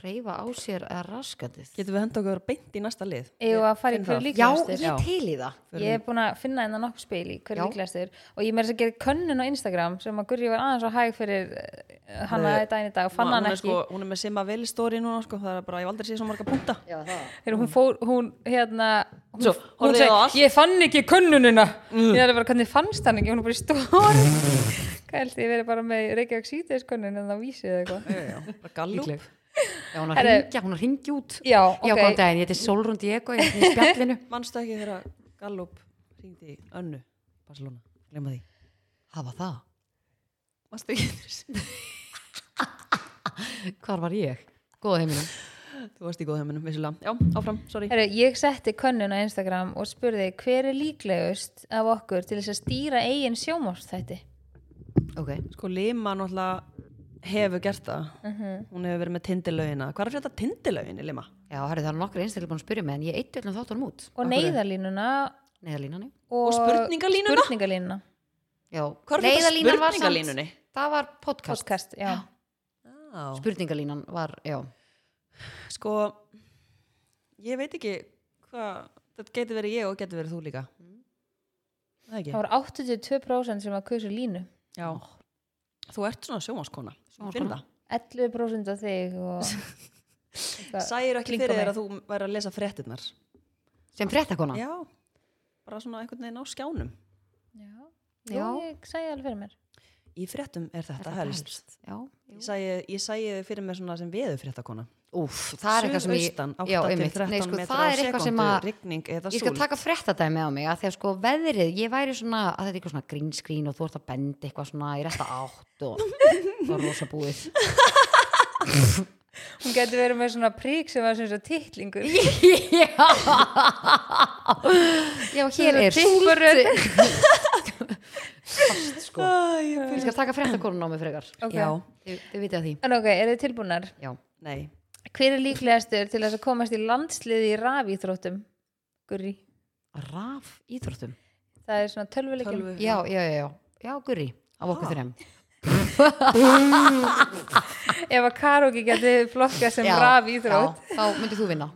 reyfa á sér að raskandið Getum við henda okkur beint í næsta lið? Eigum við að fara í finn hver það. líklegastur? já, Já. ég til í það Ég hef búin að finna hennar nokkuð spil í hver Já. líklegastur og ég meðist að gera könnun á Instagram sem að Gurri var aðeins á hæg fyrir eh, hanna Nei. þetta daginn í dag og fann Ma- hann hún, er ekki sko, hún er með Sima Veli stóri núna sko, það er bara, ég hef aldrei séð svo marga punta já, það Þegar hún fór, hún hérna hún, Svo, hún horfði ég á allt. segi, ég fann ekki könnunina Mm. ég er bara, hvernig fannst hann ekki, hún er bara í stóri Hvað held ég verið bara með Reykjavík síðdeis könnun en það vísi eða eitthvað Já, já, bara gallup Líkleg. já, hún er að Herru. ringja, hún er að ringja út Já, já, ok. góðan daginn, ég heiti Solrún Diego ég er í spjallinu Manstu ekki þegar gallup hringdi í önnu Barcelona, glemma því hafa það, Manstu ekki eftir þessu? hvar var ég? góða heiminum Þú varst í góðheiminum, vissulega. Já, áfram, sorry. Heru, ég setti könnun á Instagram og spurði hver er líklegust af okkur til þess að stýra eigin sjómorstætti okay. Sko, Lima náttúrulega hefur gert það. Mm. Mhm. Hún hefur verið með tindilögina. Hvað er að frétta tindilögin í Lima? Já, herri, það eru nokkur einstaklega búin að spyrja mig en ég eitt öllum þáttunum út. og neyðarlínuna neðalínan og, spurningalínuna? spurningalínuna. já, Hvað er þetta Neyðarlínan var samt- spurningalínunni? það var podcast, podcast, já, Já. spurningalínan var já, Sko, ég veit ekki hvað, þetta geti verið ég og geti verið þú líka. Það það ekki? var 82% sem að kausa línu Já. Þú ert svona sjómaskona. Ég finn Sjónvarpskona. það. 11% af þig og eitthvað. Sægir ekki Klinga fyrir þér mig. að þú væri að lesa fréttinnar. sem fréttakona Já. Bara svona einhvern veginn á skjánum. já, Já. já. ég sæði alveg fyrir mér Í fréttum er þetta, helst. já. Ég sægi, ég sægi þið fyrir mér svona sem veður fréttakona. Úf, það er eitthvað sem ég Suðaustan, já, 8 til einmitt. 13 Nei, sko, metrar það á er eitthvað sem sekúndu, að rigning eða ég skal súld. taka fréttadæmi á mig að því að sko veðrið, ég væri svona að þetta er eitthvað svona grínskrín og þú ert að benda eitthvað svona í rétta átt og það er rosa búið hún getur verið með svona prík sem var sem svo titlingur já já, hér er Tipparöð. súld fast sko Æ, ég ég skal taka fréttakonun á mig frekar Ok. Já, þið, þið vitið að því en ok, eru þið tilbúnar? já, nei. hver er líklegastur til þess að komast í landsliði í rafíþróttum? Guri raf íþróttum það er svona tölvuleikjum Tölvu. já, já, já, já, já, gurri af okkur Ha. þurrem ef að karaoke getur flokkað sem rafíþrótt þá myndir þú vinna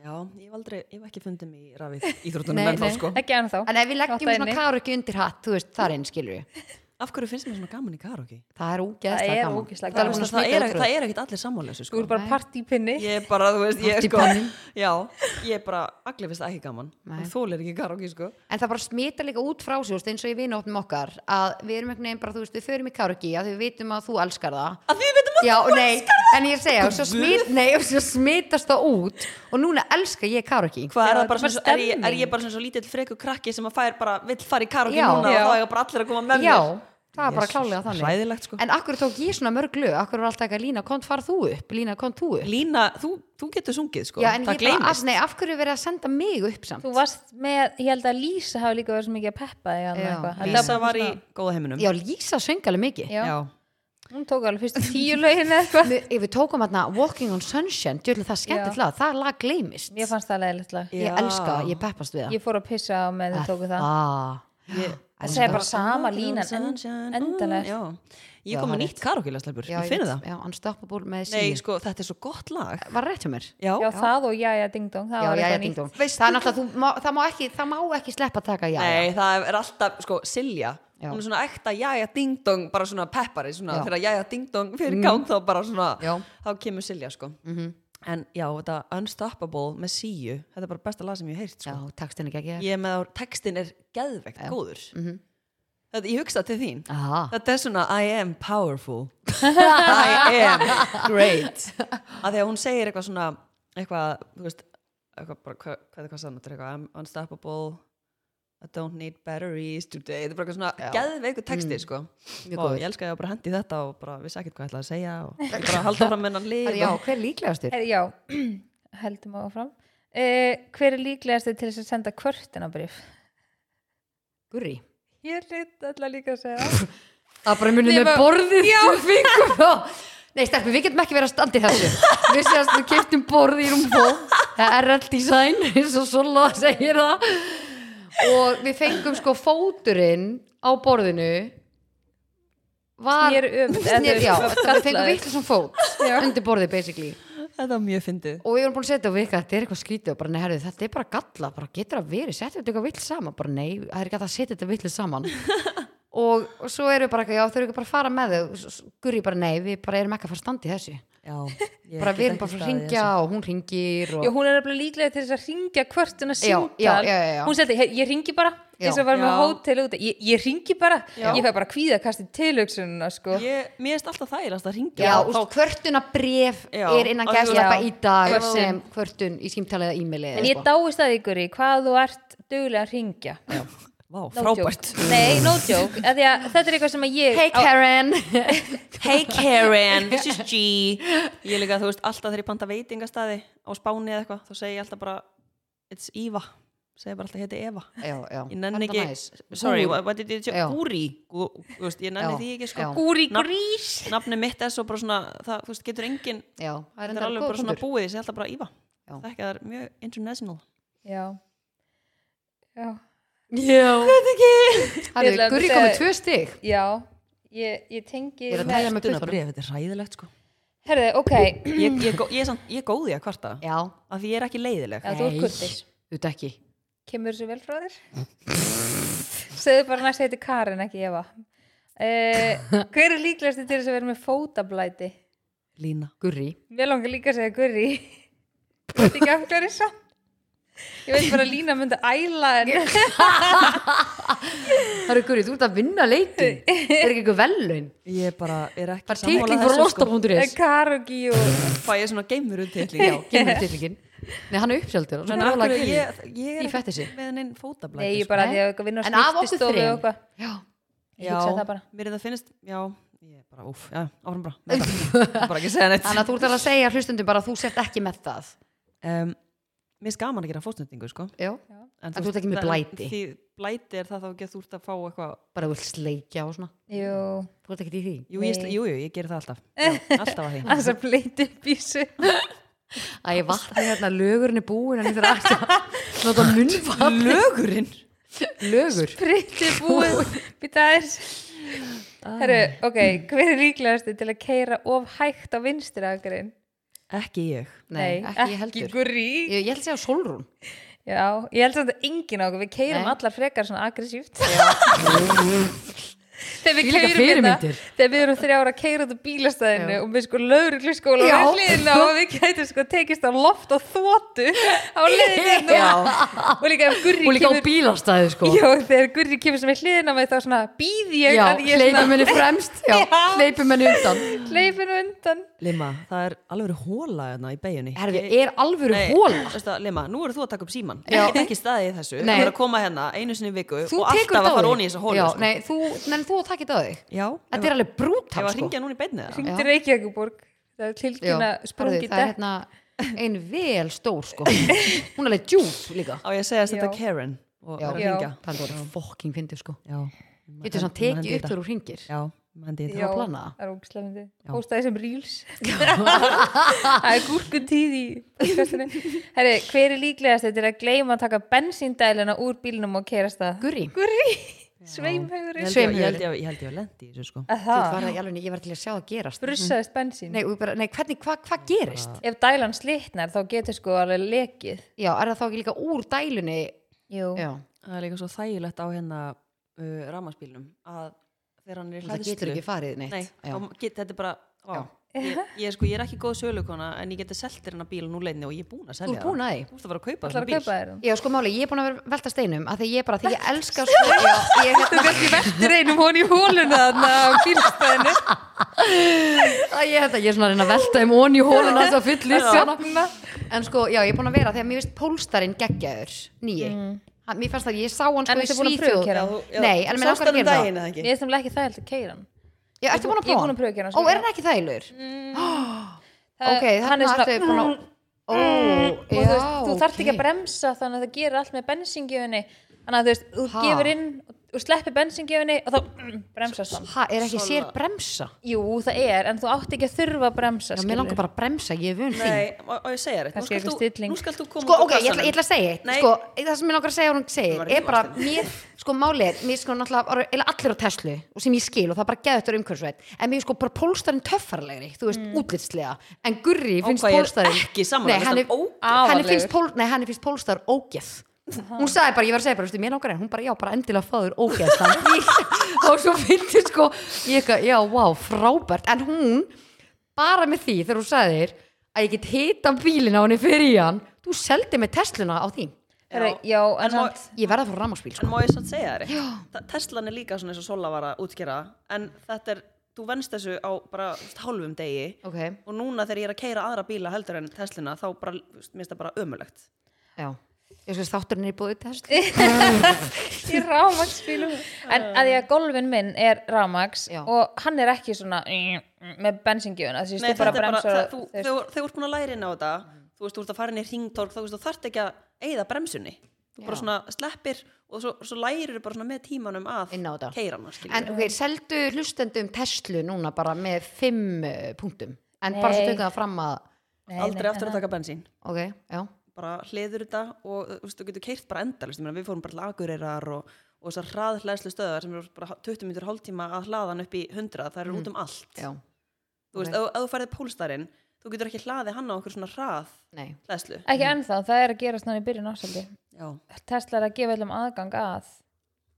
Já, ég hef aldrei, ég hef ekki fundið mig í rafið íþróttunum Nei, en þá nei. sko. ekki annað þá en ef við Gott leggjum svona dæmi. káru ekki undir hatt þú veist, þar inn skilur við Af hverju finnst mér svona gaman í karaoke? það er Það ógeðslega er gaman ógeðslega Það er Það, búin að það, smita er, öll það er ekkert allir sammálösi þú sko. eru bara partípinni Ég er bara, þú veist, ég er Allt í sko bannið. Já, ég er bara, allir finnst það ekki gaman Nei. Þú lir ekki karaoke sko en það bara smita líka út frá sér þú veist, eins og ég vinu opnum okkar að við erum einhvern veginn bara, þú veist, við förum í kárki að við vitum að þú elskar það Að því við veitum að já, og nei, en ég er að segja og svo, smit, nei, og svo smitast það út og núna elskar ég kárki Hvað Já, er það þetta bara, er svona svo, bara er, ég, er ég stemning. bara svona svo lítill freku krakki sem að fær bara, vill fara í karaoke Já. núna Já. og þá er bara allir að koma með já, mér það er bara Jesus, klálega þannig Hræðilegt sko en akkur tók ég svona mörg lög akkur var alltaf ekki að lína, kont far þú upp lína, kont þú upp Lína, þú, þú getur sungið sko já, en Það ég bara, gleymist af, nei, af hverju er verið að senda mig upp samt þú varst með, ég held að Lísa hafi líka verið svo mikið að peppa þig þarna Já. eitthvað. Að Lísa labba var í svona- góða heiminum já, Lísa söng alveg mikið já. Já. hún tók alveg fyrstu tíu lögin eða eitthvað Við- ef við tókum hérna Walking on Sunshine djúlega það er skemmtilegt lag, það lag gleymist mér fannst það leiðilegt lag ég elska, það, ég peppast við það ég fór að pissa á með þið tóku það ah, Ég- það segja bara sama Walking on línan sunshine, en- mm, endanlega já. Já, Ég kom það með er nýtt karaoke-lastelbur, ég finn það já, Unstoppable með Nei, sín sko, þetta er svo gott lag var rétt hjá mér Já, já það og já já ding dong það já, var já, já, eitthvað ding nýtt dong. það er náttúrulega, þú, má, það, má ekki, það má ekki sleppa að taka já, já. Nei, það er alltaf, sko, Silja Já. Hún er svona ekta jæja ding-dong bara svona peppari, svona Já. Mhm. þegar jæja ding-dong fyrir gang þá bara svona, Já. Mhm. þá kemur Silja, sko En já, þetta Unstoppable með síu, þetta er bara besta lag sem ég hef heyrt, já, sko takst henni ekki ekki Ég er með á, textin er geðvegt góður Mhm. Þetta, ég hugsa til þín Aha. Þetta er svona I am powerful I am great að því að hún segir eitthvað svona eitthvað, þú veist eitthvað bara, hva, hvað er hvað sann, þetta er eitthvað I'm unstoppable I don't need batteries today, þetta er bara eitthvað svona geðveiku texti, sko Mm. Mjög og góður. ég elska ég að bara hendi í þetta og bara vissi ekkert hvað ég ætlaði að segja og ég bara halda fram hennan lið Herra, já, hver er líklegastur? Her, Eh, já, heldum áfram uh, hver er líklegasti til þess að senda kvörtunabrif? Gurri ég hlut alltaf líka að segja það. það er bara munið Nema- með borðið sem fengum þá Nei, stærpi, við getum ekki verið að standa í þessu Við séðast við keftum borðið í rúmfó Það er allt design, eins og Sola segir það Og við fengum sko fóturinn á borðinu Var Snéri öfugt, eða þú Snér, Já, veist, var við fengum gallaður. vitlu sem fót Undir borðið, basically þetta var mjög fyndið og við erum búin að setja á vika þetta er eitthvað skrítið og bara nei, herru, þetta er bara galla, bara getur að verið setja þetta eitthvað vill saman, bara nei, það er ekki hægt að setja þetta vill saman og, og svo erum við bara eitthvað, já, þau eru ekki bara að fara með þau S- s- gurri bara nei, við bara erum ekki að fara að standa í þessu já, ég bara get við erum ekki bara að staðið í ringja og hún ringir og Já, hún er nefnilega líklega til þess að ringja kvörtuna símtal já, já, já, já. hún seldi, hey, ég ringi bara Já. eins og var með Já. hótel út ég, ég ringi bara, Já. ég fæ bara kvíðakasti tilhugsununa sko. þessu. ég, mér erst alltaf þægilegast að ringja já, og hvörtuna bref Já, er innan og þú- gæðslappa Já. í dag Kvörtun. sem hvörtun í símtaliða e-maili en ég dáist að ykkur í hvað þú ert duglega að ringja no Vá, joke. frábært Nei, no joke, af því að þetta er eitthvað sem að ég hey á- Karen Hey Karen, this is G Ég er líka, þú veist, alltaf þegar ég panta veitingastæði á Spáni eða eitthvað, þá segi ég alltaf bara It's Eva, segi bara alltaf heiti Eva já, já, Ég nenni þetta ekki, er næs. sorry, Gúr. what what did you say? Já. Gúri, Gú, þú veist, ég nenni Já, því ekki já. sko Gúri Nafn- grís Nafnið mitt er svo bara svona, það, þú veist, getur engin já, það er Það er enda alveg góð bara svona punktur. búið, ég segi alltaf bara Eva Já. Það er ekki, það er mjög international Já Já, Já. Þetta ekki. Ég ætla Herru, að Gurri segja- komið tvö stig. já, ég, ég tengi Ég er að með- tala með Duna puttunum. bréf, þetta er ræðilegt sko herðu, ok, Ég, ég, ég, ég, er samt- ég er góð í að kvarta Já. af því ég er ekki leiðileg já, þú Nei. er kurtis Þú ekki. kemur þessu vel frá þér segðu bara næst heiti Karin, ekki Eva uh, hver er líklegasti til þess að vera með fótablæti Lína Gurri. mér langar líka að segja Gurri Ég veit ekki af hverju samt ég veit bara að Lína myndi æla en Herru, Gurri, þú ert að vinna leikin. Er ekki eitthvað vellaun? Ég bara er ekki Bara sammála titling fyrir þessu, sko. losta.is. Karugi og Fæ ég svona geimur um titling, já Gemur titlingin. Nei, hann er uppsjaldur. En af hverju ég, ég er Í fettissi. ekki með henni fótablæti Nei, ég sko. bara Nei. því að vinna á En af okkur þrem. snýftistofu og eitthvað Já. Ég hugsaði það bara. mér er það finnst, já Ég bara, úf, já, áfram bara með það. Ég er bara ekki að segja neitt Þannig að þú ert alveg að segja hlustundum bara að þú sett ekki með það. um, Mér finnst gaman að gera fótstendingu, sko Já. En þú ert ekki með en blæti. Því blæti er það þá ekki að þú ert að fá eitthvað Bara þú vilt sleikja og svona. Jú, Þú ert ekki í því. Jú, ég, Nei. jú, jú, ég gerir það alltaf já, Alltaf að því að það bleiti bísu Æ, ég vatna hérna, lögurinn er búin, en ég þarf alltaf nota munnfall. Lögurinn Lögur. Pritti búið Býtaðir Herru, ok, Ah. hver er líklegasti til að keira of hægt á vinstri akkurinn? Ekki ég Nei, ekki ég heldur. gurri Ég, ég held að segja Solrún. Já, ég held samt að enginn á okkur, við keirum Nei. allar frekar svona aggressíft Þegar við Þvílíkar keirum fyrirmyndir. þegar við erum þrjára að keira út á bílastæðinu Já. og við sko lögreglu skóla Já. og hliðina og við gætum sko tekist á loft og þóttu á hliðinu og líka ef Og Gurri líka á kemur bílastæði, sko. Já, þegar Gurri kemur sem er hliðina á mig þá svona býð ég Já, að ég hleypum um- henni fremst. Já, Já. hleypum henni undan. hleypinu undan Lima, það er alveg hóla hérna í beigjunni Herfi, er alvöru hóla? Veistu það, Lima, nú eru þú að taka upp síman Já. Ég get ekki staðið í þessu Nei. Þú er að koma hérna einu sinni í viku Þú Og tekur alltaf þetta á að fara þig. onni í þessu hólu Já, sko. nei, þú, nei, þú takit á þig. Já, Þetta er alveg Ég brútal, var að sko. ringja núna í beinni það hringdi Reykjavíkuborg það er Já, tilkynna herðu, sprungi það er hérna ein vel stór, sko. Hún er alveg djúp líka. Á ég að segja að þetta Já. er Karen Og Já. er að Já. ringja Það er fokking fyndið, sko. Já Getur samt tekið upp þegar hún ringir. Já, menn þetta Já, að plana það? það er ógislega myndi Já. Hóstaði sem reels Það er gúrkun tíð í podcastinu Herri, hver er líklegast til að gleyma að taka bensíndæluna úr bílnum og kerast það? Gurri, Gurri, sveimhaugur Ég held ég- Sveimhöfuðið. ég held ég- ég held ég að lendi í þessu sko þú Það, var það í alveg, ég var til að sjá það gerast. brussaðist bensín Nei, og bara, nei hvernig, hvað hva gerist? Ef dælan slitnar þá getur sko alveg lekið Já, er það þá ekki líka úr dælunni? Jú, Já, Það er líka svo þægilegt á hérna uh, ramaspílnum að þegar hann er í það getur hlæðslu ekki farið neitt. Nei, Já. þá get, þetta er bara ó, ég, ég, sko, ég er ekki góð sölukona en ég geti selt þér hennar bíl nú leiðinni og ég er búin að Þú selja ert búin að því? það Þú ert að fara að kaupa ætlar þennan að bíl kaupa þér hann Já, sko máli, ég er búin að vera velta steinum að því ég bara, því ég elska sko, já, ég, hérna, Ég veldur einum hún í hóluna þarna á bílstæðinu að ég, hérna, ég er svona að reyna að velta um ón í hóluna þess að fyllir Safna. En sko, já, ég er búin að vera því að mér finnst pólstarinn geggjaður, nýi Hann- Mér fannst það, ég sá hann Mm. En sko í ertu búin að Svíþjóð prufukeyra? Nei, en mér langar að gera það það Mér er það ekki þægilt að keira hann Já, ertu búin að um Ég er prófa? búin að prufukeyra hann, Ó, sko. Mm. er hann ekki þælur? Það- Ok, hann er þannig að svona- Mm. ertu búin að Ó, og þú, veist, já, þú þarft ekki ok. að bremsa þannig að það gerir allt með bensingjöfunni þannig að þú veist, þú Ha. gefur inn og, og sleppir bensingjöfunni og þá mm, bremsast hann Ha, er ekki sér bremsa? Jú, það er, en þú átt ekki að þurfa að bremsa Já, mér langar bara að bremsa, ég er vun því. Nei, og, og ég segja Kannski eitthvað þetta stilling. Nú skal þú koma Sko, út úr ok, ég ætla, kassanum. ég ætla að segja eitt. Nei. Sko, það sem ég langar að segja að hún Hún segir var ekki er bara, lostin. mér, sko, málið er, mér sko náttúrulega eru eiginlega allir á Tesla og sem ég skil og það er bara geðið þetta umhverfisveit. En mér finnst sko bara pólstarinn töffarlegri, þú Mm. veist, útlitslega. En Gurri finnst hvað ég er pólstarinn... ekki sammála, Nei, mér henni, finnst hann henni, ógeð. finnst pól, nei, henni finnst pólstar ógeð. Hún sagði bara, ég var að segja bara, veistu, mér langar henni, hún bara, já, bara endilega fáður ógeð. og svo fyndi sko, ég eitthvað, já, wow, frábært. En hún, bara með því, þegar hún sagði þér að ég get hita bílinn á henni fyrir í hann, þú seldi með Tesluna á því. Herra, Já. Já, en En má- samt Ég verða að fóra rammarsbíl, sko. En má ég samt segja þér eitt? Te- Teslan er líka svona eins og Sola var að útskjera en þetta er, þú venst þessu á bara þú veist, hálfum degi Ok, og núna þegar ég er að keira aðra bíla heldur en Teslina þá bara, þú veist, mér finnst það bara ömulegt já. Ég sko þátturinn er í búið Tesla. í rámaksbílum en að því að golfin minn er rámaks Já. og hann er ekki svona mm, mm, með bensingjöfuna þú veist, Nei, þú bara þetta er bara, bremsar það, og- þú, þú veist, þegar þegar þú ert búin að læra inn á þetta þú veist, þú ert að fara inn í hringtorg þá veist, þú þarft ekki að eyða bremsunni þú bara Já. svona sleppir og svo, svo lærir þú bara svona með tímanum að Inn á þetta. keira hana, skilur En ok, seldu hlustendum Tesla núna bara með fimm eh, punktum. En bara svo Nei. tökum það fram að, nei, aldrei nei, aftur að taka bensín ok, já. bara hliður þetta og þú, veist, þú getur keirt bara endalist, ég meina, við fórum bara til Akureyrar og, og þessar hraðhleðslu stöðar sem eru bara 20 minnur hálftíma að hlaðan upp í 100 það eru út um allt já, þú veist, Mhm. ok. ef ef þú færið pólstarinn þú getur ekki hlaðið hann á okkur svona hrað nei, hlæðslu ekki ennþá, það er að gerast þannig í byrjun ásaldi já, hún Tesla er að gefa allum aðgang að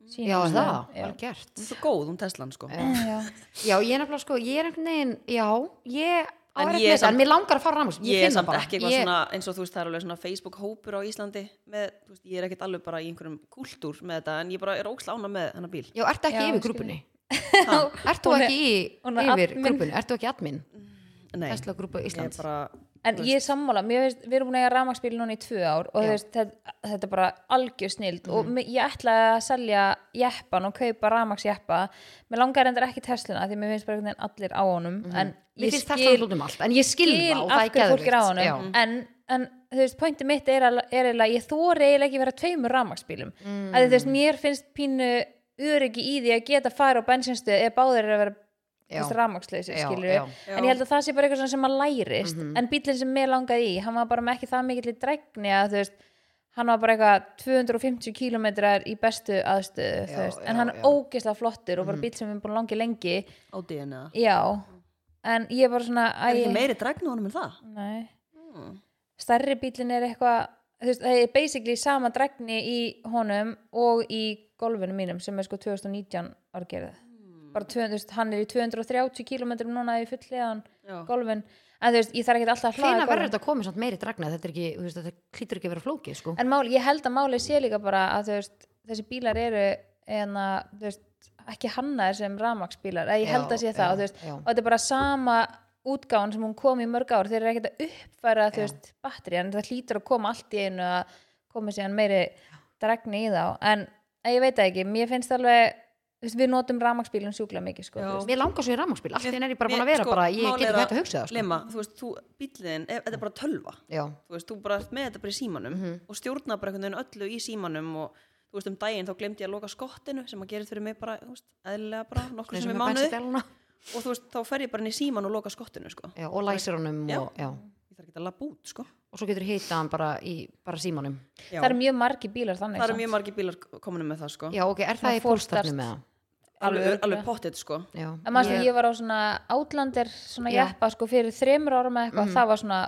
sínum já er stöðum. það, vel gert er svo góð, hún Teslan sko Já. já. Já, ég er nefnilega sko, ég er einhvern veginn, já, ég En árætt ég með er þetta, en samt- mér langar að fara rámus, ég, ég er finn það samt bara. ekki eitthvað ég, svona eins og þú veist það er alveg svona Facebook hópur á Íslandi með, þú veist, ég er ekkert alveg bara í einhverjum kúltúr með þetta en ég bara er óksla ána með hennar bíl Já, ertu ekki Já, yfir skil. grúpunni? ha, Ertu Hún er- ekki í, hún er yfir admin. grúpunni? Ertu ekki admin? Mhm. nei, Tesla grúpu ég er Íslands? bara en ég er sammála, mér veist, við erum búin að eiga rafmaksbíl núna í tvö ár og þú veist, þetta, þetta er bara algjör snild og Mhm. mi- ég ætlaði að selja jeppan og kaupa rafmaksjeppa mér langar endur ekki Tesluna því mér finnst bara einhvern veginn allir á honum en Mhm. Mér ég finnst Tesla skil, hlutum um allt, en ég skil skil það og það af er hverju fólk er á geðvikt. Já, honum en, en þú veist, pointi mitt er, al- er eiginlega, ég þóri eiginlega ekki að vera tveimur rafmaksbílum mm. að þú veist, Mhm. mér finnst pínu öryggi í því að geta fara á bensinstöð eða báðir eru að vera Já. rafmaksleysi, Já, skilur já. Mhm. en ég held að það sé bara eitthvað svona sem að lærist en bílinn sem mér langaði í, hann var bara með ekki það mikill í dregni að þú veist hann var bara eitthvað 250 km í bestu aðstöðu, þú Já, veist já, en hann er já. Mhm. ógeðslega flottur og bara bíl sem við erum búin að langi lengi, á DNA já en ég er bara svona, er ekki æ, meiri drægn á honum en það nei mm. stærri bílinn er eitthvað þú veist, það er basically sama dregni í honum og í golfinu mínum sem er sko 2019 árgerðið Hmm. bara 200, þú veist, hann er í 230 km núna í fulllegan Já. golfin en þú veist, ég þarf ekki alltaf að Hleina hlaða verður golfin þetta að koma samt meiri dragna, þetta er ekki, þú veist, þetta klítur ekki að vera flókið, sko. en mál, ég held að málið sé líka bara að þú veist, þessi bílar eru en að, þú veist, ekki hannaðir sem rafmaksbílar, eða ég held Já, að sé já, það og, þú veist, já. og þetta er bara sama útgáðan sem hún kom í mörg ár, þeir eru ekkert að uppfæra þú Já. veist, batteri, en það hlýtur að koma allt í einu að koma síðan meiri dregni í þá, en að ég veit það ekki, mér finnst alveg þú veist, við notum rafmaksbílum sjúkla mikið sko, Já. þú veist. Mér langar svo í rámásbíl, allt í Mér- enn er ég bara búin að mér- vera sko, bara, ég málið get er ekki að- hægt að hugsa það, sko. um- Lema, þú veist, þú, bíllinn, ef, þetta er bara tölva Já, þú veist, þú bara ert með þetta bara í símanum og stjórna bara einhvern veginn öllu í símanum og þú veist, um daginn þá glemdi ég að loka skottinu sem að gerist fyrir mig bara, þú veist, eðlilega bara nokkur eins sem og er með mánuði bensindæluna. og þú veist, þá fer ég bara inn í síman og loka skottinu, sko Já, og læsir honum Já. og, já. ég þarf ekki að labba út, sko Og svo getur hýta hann bara í, bara símanum. Já. það eru mjög margi bílar þannig það eru samt. mjög margir bílar kominu með það, sko Já, ok, er Svona það í fólkstart. pólstarfnum með það? alveg, Alveg alveg pottet, sko Já. en maður yeah. ég var á svona Outlander svona Já. jeppa sko fyrir þremur árum eða eitthvað, það var svona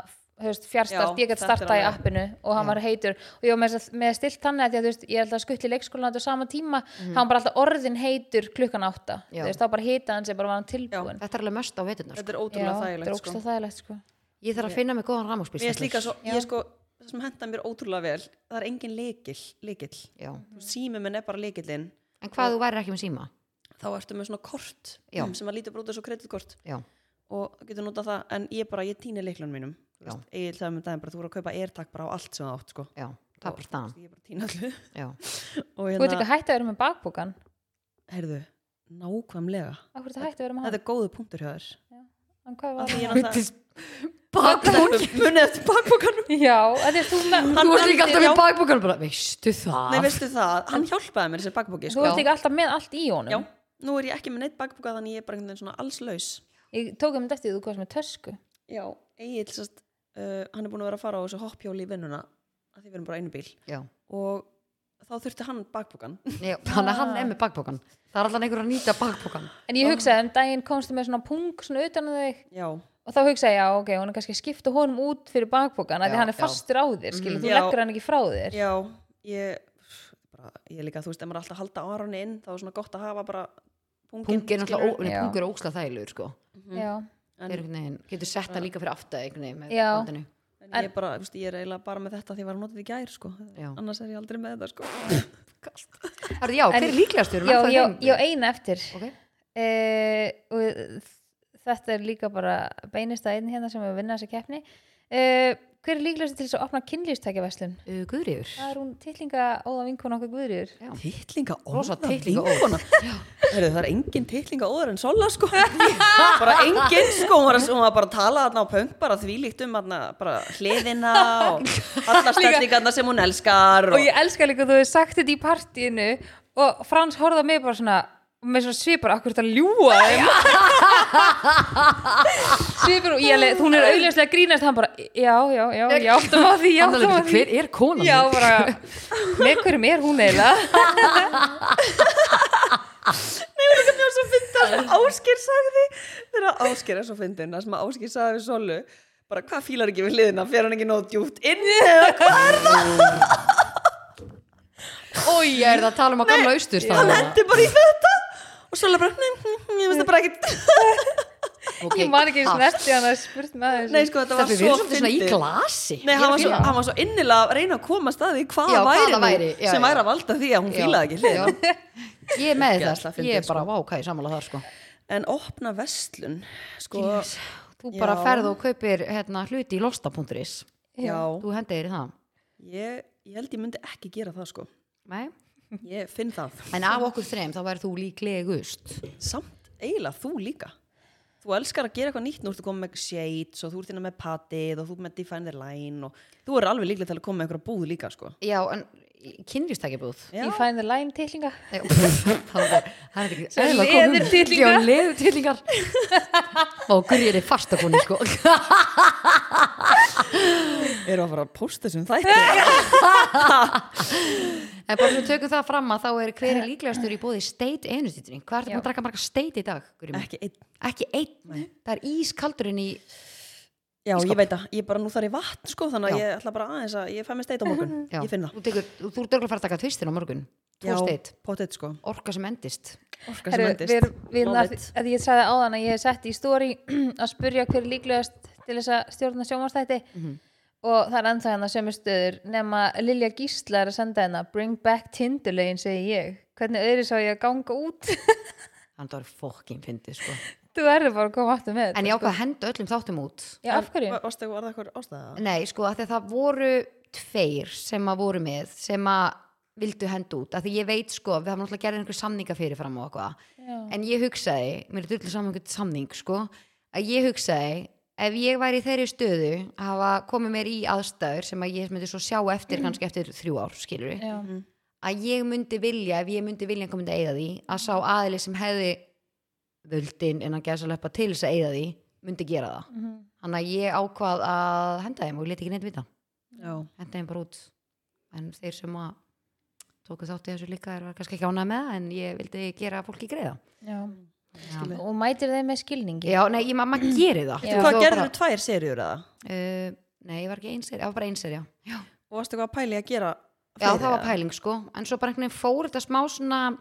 höfst, fjárstart, Mm. Já, ég gæti þetta er startað í alveg- appinu og hann var heitur og ég var með, þess- með stilt þannig að því að þú veist, ég held að skuttli leikskólan þetta á sama tíma, Mhm. hann var bara alltaf orðin heitur klukkan átta, Já. þú veist, þá bara heita hann sem bara var hann tilbúin Þetta er alveg mest á veturnar. þetta er Sko, Já, ótrúlega þetta er þægilegt, sko ókslega þægilegt sko Ég þarf að finna mig góðan rámásbíl. mér er líka svo, ég sko, það sem henda mér ótrúlega vel það er engin leikil, leikil Já. Mm. sími minn er bara leikillin En hvað ef þú væri ekki með síma? þá ertu með svona kort Já. mm, sem að lítur bara út af svo kreditkort Já. og þú getur notað það en ég bara, ég týni leiklunum mínum Þú veist, ég ætlaði með um daginn bara, þú voru að kaupa airtag bara á allt sem það átt sko Já. Það er bara staðan. ég bara týna allu Já. og Þú veit ekki hérna, að hætta að vera með bakbúkan heyrðu, nákvæmlega Akkur þetta hætta að vera með hann þetta er góðu punktur hjá þér En hvað var Því ég það? er náttúrulega- Bakbókin. munið eftir bakpokanum Já, að því að þú, með- Þú varst Hann- líka já. alltaf með bakbókan bara, veistu það? nei, veistu það, hann hjálpaði mér þessi bakpoki þú sko. ert ekki alltaf með allt í já, honum nú er ég ekki með neitt bakpoka þannig ég er bara einhvern veginn svona allslaus Ég tók um þetta eftir því þú komst með tösku já, Egil, sest, uh, hann er búin að vera að fara á þessu hoppjóli í vinnuna að því við erum bara á einu bíl Já. og þá þurfti hann bakpokan Já, Þannig að hann er með bakbókan. Það er alltaf einhver að nýta bakbókan. En ég hugsaði um daginn komstu með svona pung svona utan að þig já, og þá hugsaði ég, já ok, hún er kannski að skipta honum út fyrir bakbókan, því Já, Mhm. hann er já. fastur á þér, skilur, þú Já. leggur hann ekki frá þér já, ég bara, ég er líka, þú veist, ef maður er alltaf að halda árunni inn þá er svona gott að hafa bara pungin, Pungi er náttúrulega, skilurðu. ó- nei, Já. pungur er ósla þægilegur, sko. Já, en, En, einhvern veginn, getur sett það líka fyrir aftur einhvern veginn með Já. bandinu. en ég er bara, þú veist, ég er eiginlega bara með þetta því ég var að nota þetta í gær, sko Já. annars er ég aldrei með þetta, sko Herðu, já, hver er líklegastur? Erum við ennþá já, í já, þeim? já eina eftir Ok. uh, og þetta er líka bara beinist að einn hérna sem er að vinna þessa keppni uh, Hver er líklegast til þess að opna kynlýstækjaverslun? Uh, Guðríður. Það er hún titlinga óða vinkun okkur guðriður Tittlinga Rosa titlinga vinkona Heyrðu, það er engin tittlinga óður en Sola sko bara engin sko hún var, hún var bara að tala þarna á pöng bara þvílíkt um hana, bara hliðina og alla stellingarna sem hún elskar og ég elska líka að þú hefur sagt þetta í partíinu og Frans horfði á mig bara svona og með svona svipar, akkur þetta ljúa þeim svipar og ég leið, hún er auðvitað að grínast hann bara, já, já, já, já áttum á því, já, Hann er áttum á alveg, því hver er konan já, mín? bara, með hverjum er hún eiginlega það var svo fyndið að Ásker sagði þegar Ásker er svo fyndin það sem að Ásker sagði við Solu bara hvað fílar ekki við hliðina, fer hann ekki nóg djúpt inn eða hvað er það, Ói, ég er það að tala um að gamla austur hann hendi bara í þetta og Sola bara, nei, nei, nei, ég veist það bara ekki ég man ekki eins og nætti hann að spurt með þessu nei sko þetta var Steffi, við svo erum svolítið svona í fyndið glasi nei, Ég hann er var, svo, fíla það. hann var svo innilega að reyna að koma að því hvað Já, hvað væri, það nú væri, já, sem já. væri að valda því að hún fílaði ekki Já, hliðina já. Ég er með Ógeðslega það, fyndið, ég er bara vákæði samanlega þar sko en opna vestlun sko, Þú bara Já. ferð og kaupir hérna, hluti í losta.is já, Þú hendir í það ég, ég held ég myndi ekki gera það sko Nei. ég finn það En af okkur þreim þá væri þú líklegust samt eiginlega þú líka þú elskar að gera eitthvað nýtt nú ertu komið með shades og þú ert hérna með patið og þú ert með define the line og þú er alveg líklega til að koma með einhverja búð líka sko Já, en kynlýstakibúð Já. í Find the Line tilhinga Já, það er það er ekki Svo eðlilega góð hugmynd. leðurtitlingar. Já, leðurtillingar Ó, gurri er þið fasta koni sko eru að fara að posta þessum þætti En bara sem við tökum það fram að þá er hver er líklegastur í bóði state energy drink Hvað er þetta að draka marga state í dag, gurri mín? ekki einn Ekki einn, það er ískaldurinn í já ég veit að ég bara nú þarf í vatn sko þannig að Já. ég ætla bara aðeins að ég fæ mér steit á morgun Já, ég finn það Þú, tekur, þú, þú dörgla fara að taka tvistin á morgun Tvo state, potið sko orka sem endist orka sem Herru, endist við, við, Love að, it. að ég sagði áðan að ég hef sett í stóri að spurja hver er líklegast til þess að stjórna sjómanstætti Mhm. og það er ennþá hennar sömu stöður nema Lilja Gísla er að senda hennar Bring back Tinderlegin, segi ég hvernig öðru sá ég að ganga út Þannig að það er fokkin fyndið sko þú verður bara að koma aftur með En ég ákvað að henda öllum þáttum út já, af hverju? Var- varstu- var það eitthvað ástæða Nei, sko, af því að það voru tveir sem að voru með sem að vildu henda út, af því ég veit sko við hafum náttúrulega gerðið einhver samninga fyrirfram og Já. eitthvað en ég hugsaði, mér er dullu saman einhvern samning sko, að ég hugsaði ef ég væri í þeirri stöðu að hafa komið mér í aðstæður sem að ég myndi svo sjá eftir kannski eftir þrjú ár skilur Mhm. Já. Mhm. að ég myndi vilja, ef ég myndi vilja komið að eigða því, að sá aðili sem hefði völdin en að gæsa löpa til þess að eigða því, myndi gera það Mhm. þannig að ég ákvað að henda þeim og ég leti ekki neitt vita já henda þeim bara út en þeir sem að tóku þátt í þessu líka er kannski ekki ánað með það en ég vildi gera fólki greiða já. já, og mætir þeim með skilningi já nei, ég, ma maður gerir það Já. Þú- hvað þú gerður bara- þú tvær serjur eða Uh, nei, ég var ekki einseri, ég var bara einseri já. Já. og varstu eitthvað að pæli að gera já, fleiri, það var eða? pæling sko en svo bara einhvern veginn fór þetta smá svona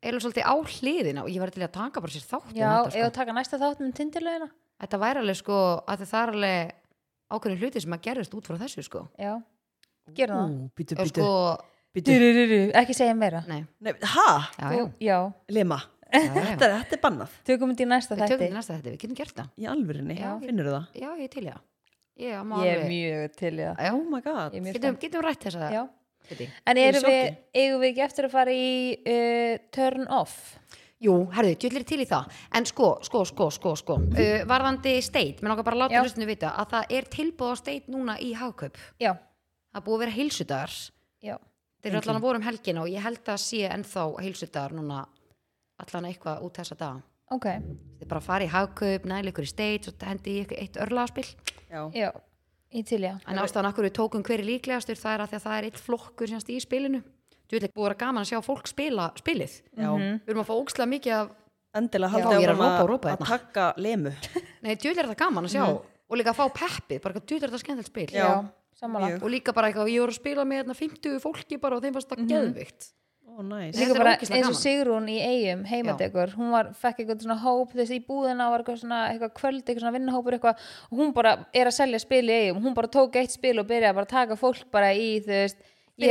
eða svolítið á hliðina og ég var til að taka bara sér þátt um já þetta, sko. eða taka næsta þátt með Tinderlegina þetta væri alveg sko að það er alveg ákveðin hluti sem að gerðist út frá þessu sko, já, gerum það Ú, bíddu, og bíddu, sko bíddu. Durururu, ekki segja meira nei, Nei, ha, já, já, já, Lema já, já. þetta, er- þetta er bannað tökum þetta í næsta við tökum þætti þetta næsta þetta, við getum gert það í alvörinni, Já. finnur það já, ég er til í það ég, má ég er alveg- mjög til í það já, oh my god, Ég er mjög getum, getum rætt þess spennt. að já það En Ég er í erum við, eigum við ekki eftir að fara í uh, turn off? jú, herðu, djöllir til í það en sko, sko, sko, sko, sko uh, varðandi steit, mér langar bara að Já. láta hlustinu vita að það er tilbúð á steit núna í hagkaup Já, það er búið að vera heilsudagar já, Mhm. þeir eru allan að voru um helgin og ég held að sé ennþá heilsudagar núna allan eitthvað út þessa daga ok, þið bara farið í hagkaup, næli ykkur í steit og hendi í ykkur eitt örlaðaspil já, já, í til já. en ástæðan akkur við tókum hver er líklegastur það er að, því að það er eitt flokkur semst í spilinu djöllir búið að vera gaman að sjá fólk spila spilið já. Mm. Við erum að fá ókslega mikið af endilega Mhm. Já, haldið ég er að áfram rópa og rópa að hérna. taka lemu Nei, djúlega er það gaman að sjá Mm. Og líka að fá peppið, bara djúlega er það skemmtilegt spil Já. sammála. Mjög. Og líka bara eitthvað, ég voru að spila með hérna 50 fólki bara og þeim fannst Mhm. það geðvikt ó næs, Þetta Líka er bara ógeðslega eins og gaman. Sigrún í eigum heimadegur, hún var, fekk eitthvað svona hóp þessi í búðina var eitthvað svona eitthvað kvöld, eitthvað svona vinnahópur eitthvað og hún bara er að selja spil í eigum, hún bara tók eitt spil og byrjaði bara að taka fólk bara í þú veist, ég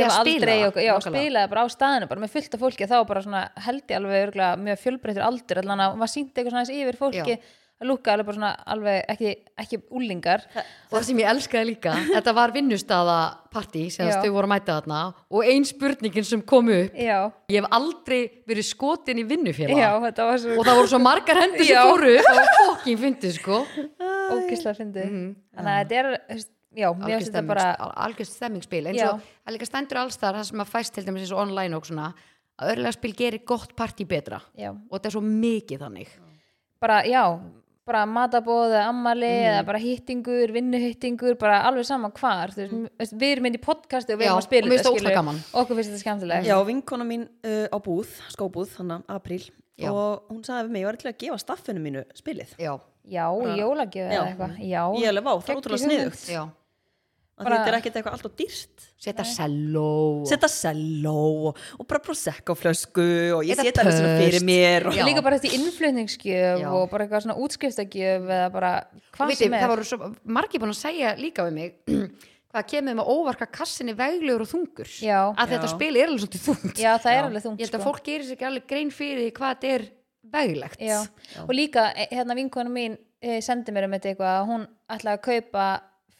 Byrjaði hef að spila aldrei, það, og, já, nákvæmlega. spilaði bara á staðinu bara með fullt af fólki þá bara svona held ég alveg örgulega mjög fjölbreyttur aldur allan að hún var sínt eitthvað svona aðeins yfir fólki að lúka alveg bara svona alveg ekki, ekki úlingar Og það sem ég elskaði líka, þetta var vinnustafapartí sem Já. þau voru að mæta þarna Og ein spurningin sem kom upp já, Ég hef aldrei verið skotin í já, vinnufélag þetta var svo Og það voru svo margar hendur sem Já. fóru upp, Það var fokkin fyndið sko ógislega fyndið þannig að þetta er, þú veist, já, mér Mhm. Algjör finnst þetta stemmings- bara al- algjör stemmingsspil eins Já. og það líka stendur alls þar það sem að fæst til dæmis eins og online og svona að örlaðspil gerir gott partí betra já, og þetta er svo mikið þannig bara, já, bara matabóð eða ammali Mhm. eða bara hýttingur, vinnuhýttingur bara alveg sama hvar, þú veist, mm. við erum inn í podcasti og við Já, erum að spila og mér finnst þetta, það ótrúlega gaman. okkur finnst þetta skemmtilegt Já, vinkona mín uh, á búð, skóbúð, þannig að apríl Já. og hún sagði við mig, ég var ætla að gefa staffinu mínu spilið. já, já, jólagjöf Já. eða eitthvað já, Ég alveg vá, það Geggjuð er ótrúlega hugmynd. sniðugt. já Af því Þetta er ekkert eitthvað alltaf dýrt. setja selló Setta selló og bara prosecco-flösku og ég Eða setja það svona pöst. fyrir mér. Og... Já. líka bara þetta í innflutningsgjöf Já. og bara eitthvað svona útskriftagjöf eða bara og hvað veitir, sem það er voru svo, margir búin að segja líka við mig hvað kemur með óvarka kassinni veglegur og þungur Já. að þetta Já. spil er alveg svolítið þungt já, það er alveg þungt ég held að sko. fólk gerir sér ekki alveg grein fyrir því hvað þetta er veglegt já. og líka eh, hérna vinkonu mín eh, sendi mér um þetta eitthvað að hún ætlaði að kaupa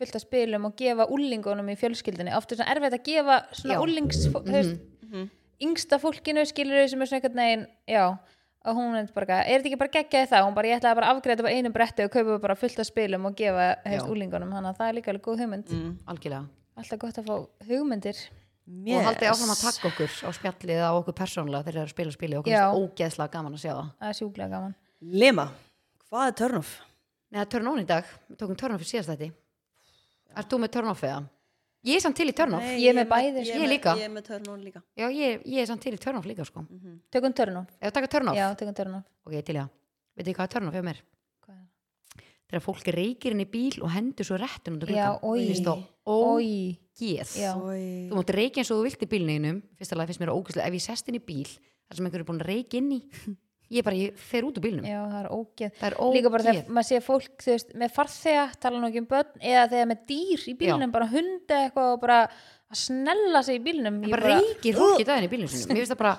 fullt af spilum og gefa úlingunum í fjölskyldinni oft er svona erfitt að gefa svona Já. Mhm, úlings mm yngsta fólkinu skilur þau sem er svona einhvern veginn já, og hún er bara, eitthvað, er þetta ekki bara geggjaði það hún bara, ég ætlaði bara að afgreita bara einu bretti og kaupa bara fullt af spilum og gefa hefst, Já. Mm. úlingunum, þannig að það er líka alveg góð hugmynd algjörlega alltaf gott að fá hugmyndir og haldið áfram að taka okkur á spjallið á okkur persónulega þegar það er að spila spili okkur Já. er ógeðslega gaman að sjá það það er sjúklega gaman Lema, hvað er turn-off? Nei, það er turn on í dag, við tókum turn off í síðast þetta Er þú með turn off eða? Ég er samt til í turn off ég er með bæði, ég líka. Ég er með turn-on líka. Mhm. Já, ég, ég er samt til í turn off líka sko tökum törnum, Ef þú taka turn off? já, tökum törnum Ok, ég er til í það Veitir hvað er turn off hjá mér? Hvað er Þegar fólk reykir inn í bíl og hendur svo réttun undir Já, gluggann. oj. Finnst það oi, ógeð Já. Þú mátt reykja eins og þú vilt í bílneginum Fyrst alveg finnst mér ógeðslega Ef ég sest inn í bíl þar sem einhver er búin að reyka inn í Ég bara, ég fer út úr bílnum já, það er ógeð Það er líka bara ógeð þegar maður sé fólk þú veist, með farþega, tala nú ekki um börn eða þegar með dýr í bílnum, bara hundi eitthvað og bara að snella sig í bílnum Það bara reykir fólk í daginn í bílnum sinum Mér finnst það bara,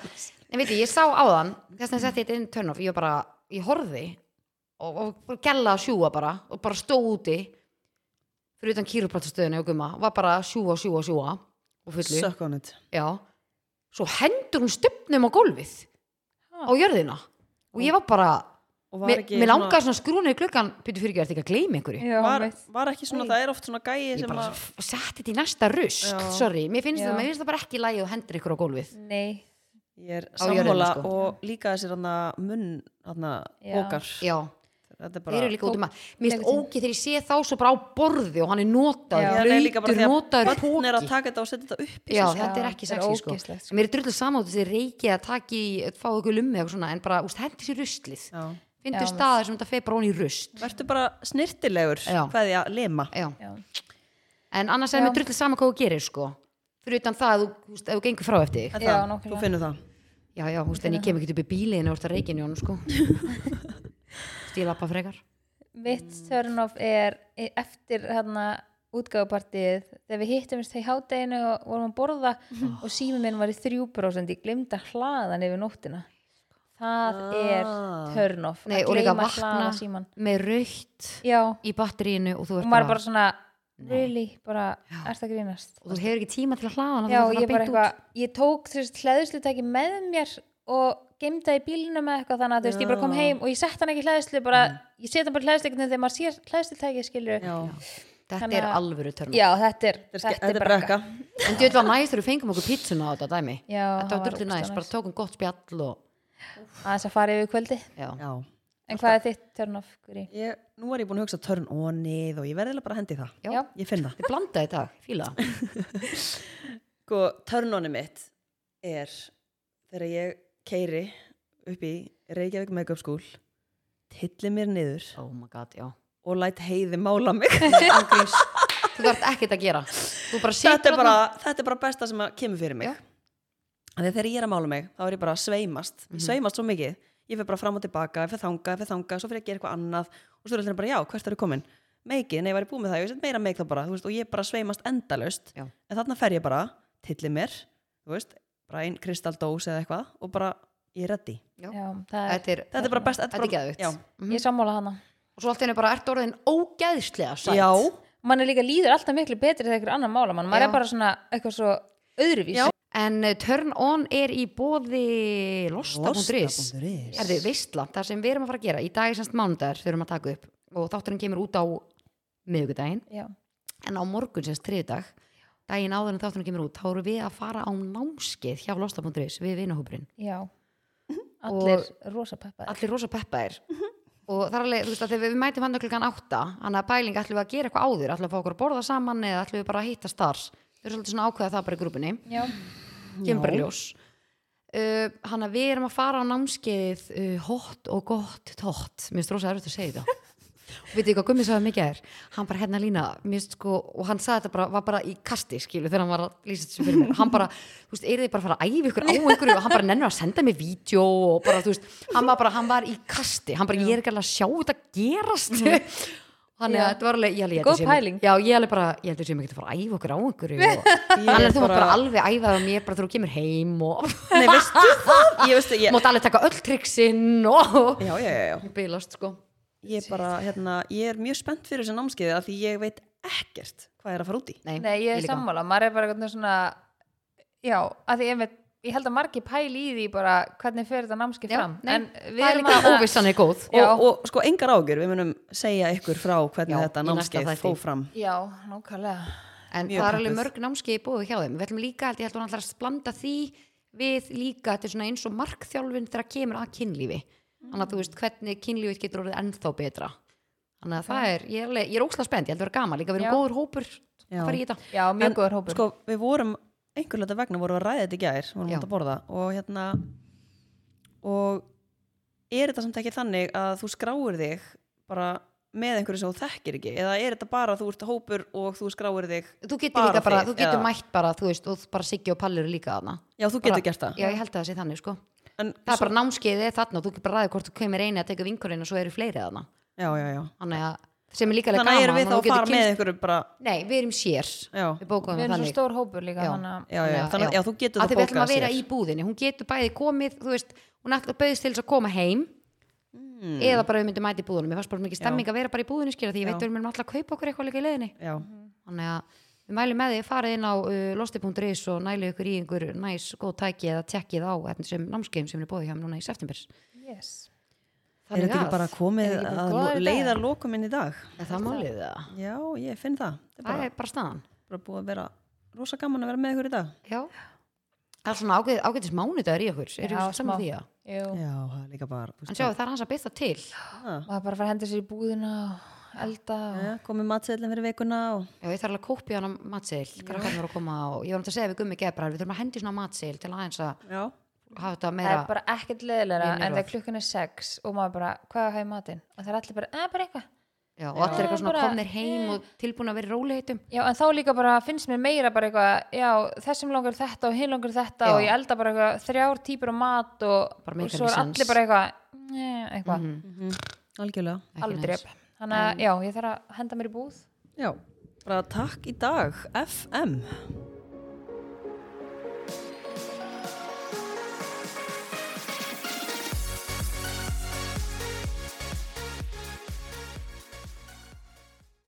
en veit ég, ég sá áðan Þess að setti þetta inn turn off Ég var bara, ég horfði og, og bara gæla að sjúga bara og bara stóð úti fyrir utan kýruprættastöðinu og gumma var bara að sjúga, sjúga, sjúga og fullu Suck on it. Já. svo hendur hún stöpnum á gólfið á Ha. jörðina og ég var bara Og mér mér langaði svona skrúna í klukkan byrju fyrir ekki, ertu ekki að gleyma einhverju já, Var, veit. var ekki svona, það er oft svona gæi ég sem bara að... setti þetta í næsta rusk Já. sorry, mér finnst, Já. það, mér finnst það bara ekki lægi og hendur ykkur á gólfið nei, Ég er Á jörðina, sammála sko. og líka þessir hann að munn, hann Já. að okkar. já, Þetta er þeir bara... eru líka út um að mér finnst Tekur tíma. ókið þegar ég sé þá svo bara á borði og hann er notaður, Já, nei, líka bara blöytur, því að notaður börn er að póki taka þetta og setja þetta upp í já, sig, sko. þetta er Já, ekki þetta er sexy sko. ógeðslegt, sko. mér er drullu saman þessi reiki að taki fá ykkur lummi eða eitthvað svona, en bara, úst, hendi sér ruslið Já. fyndu Já. staðar sem þetta feir bara hún í rust Vertu bara snirtilegur, Já. hvað ég að lema. já. já, en annars er Já. mér drullu saman hvað þú gerir sko fyrir utan það að þú, þú, veist, ef þú gengur frá eftir þig Er Já, það? nákvæmlega. Þú finnur það. já, já, þú veist, en ég kem ekki upp í bíli en þú ert að reikinu honum sko stílappa frekar mitt Mm. turn off er e- eftir hérna útgáfupartið þegar við hittumist í hádeginu og vorum að borða Ah. og sími minn var í 3% ég glemd að hlaða hann yfir nóttina það er Ah. turn off Nei, að og líka gleyma að hlaða vakna símann. með raukt já, í batterínu og þú og ert maður bara, er bara svona really, bara, ert að grínast og þú hefur ekki tíma til að hlaða hana já, þú ert að fara ég bara beint eitthvað, ég tók þú veist hlæðuslutæki með mér og gemda í bílnum með eitthvað þannig að þú veist, ég bara kom Já. heim og ég sett hann ekki í hlæðslu bara, ég set hann bara í hlæðslu þegar maður sér hlæðslutæki skilur já, Já. út. þetta Þannig er að- alvöru törn þetta er, Þetta er ske- Þetta er brekka. en þú veit var næst þegar við fengum okkur pítsuna á þetta dæmi Já, þetta það var var drullu ógeðslega næst, bara næs. tókum gott spjall og, aðeins að fara yfir kvöldi já. Já. en hvað er þitt turn off, Guri? Ég, nú er ég búin að hugsa turn onið og ég verði eiginlega bara að hendi í það. Já. Já. Ég finn það. þið blandaði í dag, fíla það. Sko, turn onið mitt er þegar ég keiri upp í Reykjavík Makeup School, tilli mér niður oh my god, já og læt heiði mála mig. ángríns þú þarf ekkert að gera þú bara þetta, situr er bara, þetta er bara besta sem að kemur fyrir Já. mig. Af því að Þegar ég er að mála mig, þá er ég bara að sveimast. Mhm. Ég sveimast svo mikið. Ég fer bara fram og tilbaka, ég fer þanga, ég fer þanga, svo fer ég að gera eitthvað annað og svo er alltaf bara, já, hvert er ég komin? Meikið, nei, ég var búin með það, ég set meira meik þá bara, þú veist, og ég bara sveimast endalaust. Já. En þarna fer ég bara, tilli mér, þú veist, bara einn kristaldós eða eitthvað og bara, ég er ready. Já. Já, það er, þetta er, Þetta er bara best, þetta er bara- geðvitt Já. ég er sammála hana og svo allt henni bara ert orðin ógeðslega sætt Já, mann er líka líður alltaf miklu betri þegar einhver annar mála mann, maður Já. er bara svona eitthvað svo öðruvís Já. en uh, turn on er í bóði losta.is Losta.is. Erðu, veistla, það sem við erum að fara að gera í dag er semst mánudagur þurfum að taka upp og þátturinn kemur út á miðvikudaginn Já. en á morgun semst þriðdag daginn áður en þáttunum kemur út þá eru við að fara á námskeið hjá losla.is við vinahópurinn já allir rosa peppaði allir rosa peppaðir og það er alveg, þú veist, að þegar við mætum hann klukkan átta hann að pæling ætlum við að gera eitthvað áður ætlum við að fá okkur að borða saman eða ætlum við bara að hittast þar við erum svolítið svona að ákveða það bara í grúpunni já, kemurljós uh, hann að við erum að fara á námskeið uh, hot og gott tótt mér finnst rosa erfitt að segja þetta og veitu hvað Gummi sagði mikið er hann bara hérna lína, mér finnst sko og hann sagði þetta bara, var bara í kasti skilu þegar hann var að lýsa þessu fyrir mér, hann bara þú veist, er þið bara að fara að æfa ykkur á einhverju og hann bara nennur að senda mér vídeo og bara, þú veist, hann var bara, hann var í kasti hann bara, ég er ekki alveg að sjá þetta gerast þannig að Já. þetta var alveg ég alveg, ég Góð held ég sé- pæling. já, ég alveg bara, ég held að sem ekki að fara að æfa okkur á einhverju og Þannig að þú mátt bara alveg æfa um mér bara þegar þú kemur heim og Nei, veistu það? Ég veistu, ég, mátt alveg taka öll triksin og já, já, já, já. bilast sko. Ég, bara, hérna, ég er mjög spennt fyrir þessu námskeiði af því ég veit ekkert hvað er að fara út í. Nei, nei ég er líka. sammála maður er bara eitthvað svona já, að því einmitt ég held að margir pæli í því bara hvernig fer þetta námski Já, fram nei, en við Það er erum líka að óvissan er góð. Já. Og, og sko, engar ágjur, við munum segja ykkur frá hvernig Já, þetta í næsta námskeið þætti. fó fram. já, nákvæmlega En Mjög það er alveg peppuð. mörg námskeið í búið hjá þeim. Við ætlum líka, held ég held að hann ætlar að blanda því við líka, þetta er svona eins og markþjálfin þegar kemur að kynlífi. Þannig að þú veist hvernig kynlífið getur orðið ennþá betra. Þannig að það er, ég er, alveg- ég er óslega spennt, ég held að vera gaman líka, við erum Já. góður hópur, Já. fara í þetta. já, En, mjög góður hópur Sko, við vorum, einhverlega vegna vorum við að ræða þetta í gær, vorum Já. út að borða og hérna, og er þetta samt ekki þannig að þú skráir þig bara með einhverju sem þú þekkir ekki eða er þetta bara að þú ert hópur og þú skráir þig Þú getur Bara líka bara, þið, þú getur já. mætt bara, þú veist, og bara Siggi og Palli eru líka þarna. Já, þú Bara- getur gert það Já, ég held að það sé þannig, sko. en, það er bara námskeiðið er þarna og þú getur bara ræðið hvort þú kemur einu að teka vinkurinn og svo eru fleiri þarna Já, já, já þannig að sem er líka alveg Þannig að gaman erum við þá að þannig þú fara getur með kynnst- einhverju bara nei, við erum sér Já, við bókum við við erum svo þannig stór hópur líka Já. þannig að já, já, þannig að já, þú getur að þá því við ætlum bókað að vera sér í búðinni hún getur bæði komið, þú veist hún ætla bauðist til þess að koma heim eða bara við myndum mæti í búðunum mér fannst bara mikið stemming að vera bara í búðinni skilja því ég Hmm. Já. veit að við myndum alltaf að kaupa okkur eitthvað líka í leiðinni Já, þannig að við mælum með því að fara inn á uh, losti.is og nælu ykkur í einhver næs góð tæki eða tjekkið á þessum námskeiðum sem er bóðið hjá mér núna í september yes. er þetta ekki bara komið Er þetta ekki bara að góður lo- í dag? leiða lokum inn í dag? Er það málið það? Já, ég finn það Það er Það bara, er bara staðan. bara búið að vera rosa gaman að vera með ykkur í dag Já. Það er svona ágæð, ágætis mánudagur í okkur. Erum Já, við saman smá. því að? Jú. Já, það er líka bara þú En veist sjáu, það er hans að byrta til. það. maður bara fara að henda sér í búðina og elda og... Já, Komið matseðlinn fyrir vikuna og Já, ég þarf alveg að kópja hann að matseil. Krakkarnir voru að koma og ég var náttúrulega að segja við gummi gebrar, við þurfum að hendi svona matseil til aðeins að Já, hafa þetta það meira. er bara ekkert leðilega Vinir en og- þegar klukkan er sex og maður bara, hvað er að hafa í matinn og það er allir bara, eða bara eitthvað Já, og allir eitthvað svona bara- komnir heim og tilbúin að vera í róliheitum. já, en þá líka bara finnst mér meira bara eitthvað já, þessum langar þetta og hinn langar þetta Já. og ég elda bara eitthvað þrjár típur á mat og, Bara og meikar svo er ekki sens. allir bara eitthvað "Njæ", eitthvað, Mhm. algjörlega Mhm, Ekki alveg neins. dref þannig að, já, ég þarf að henda mér í búð Já, bara takk í dag FM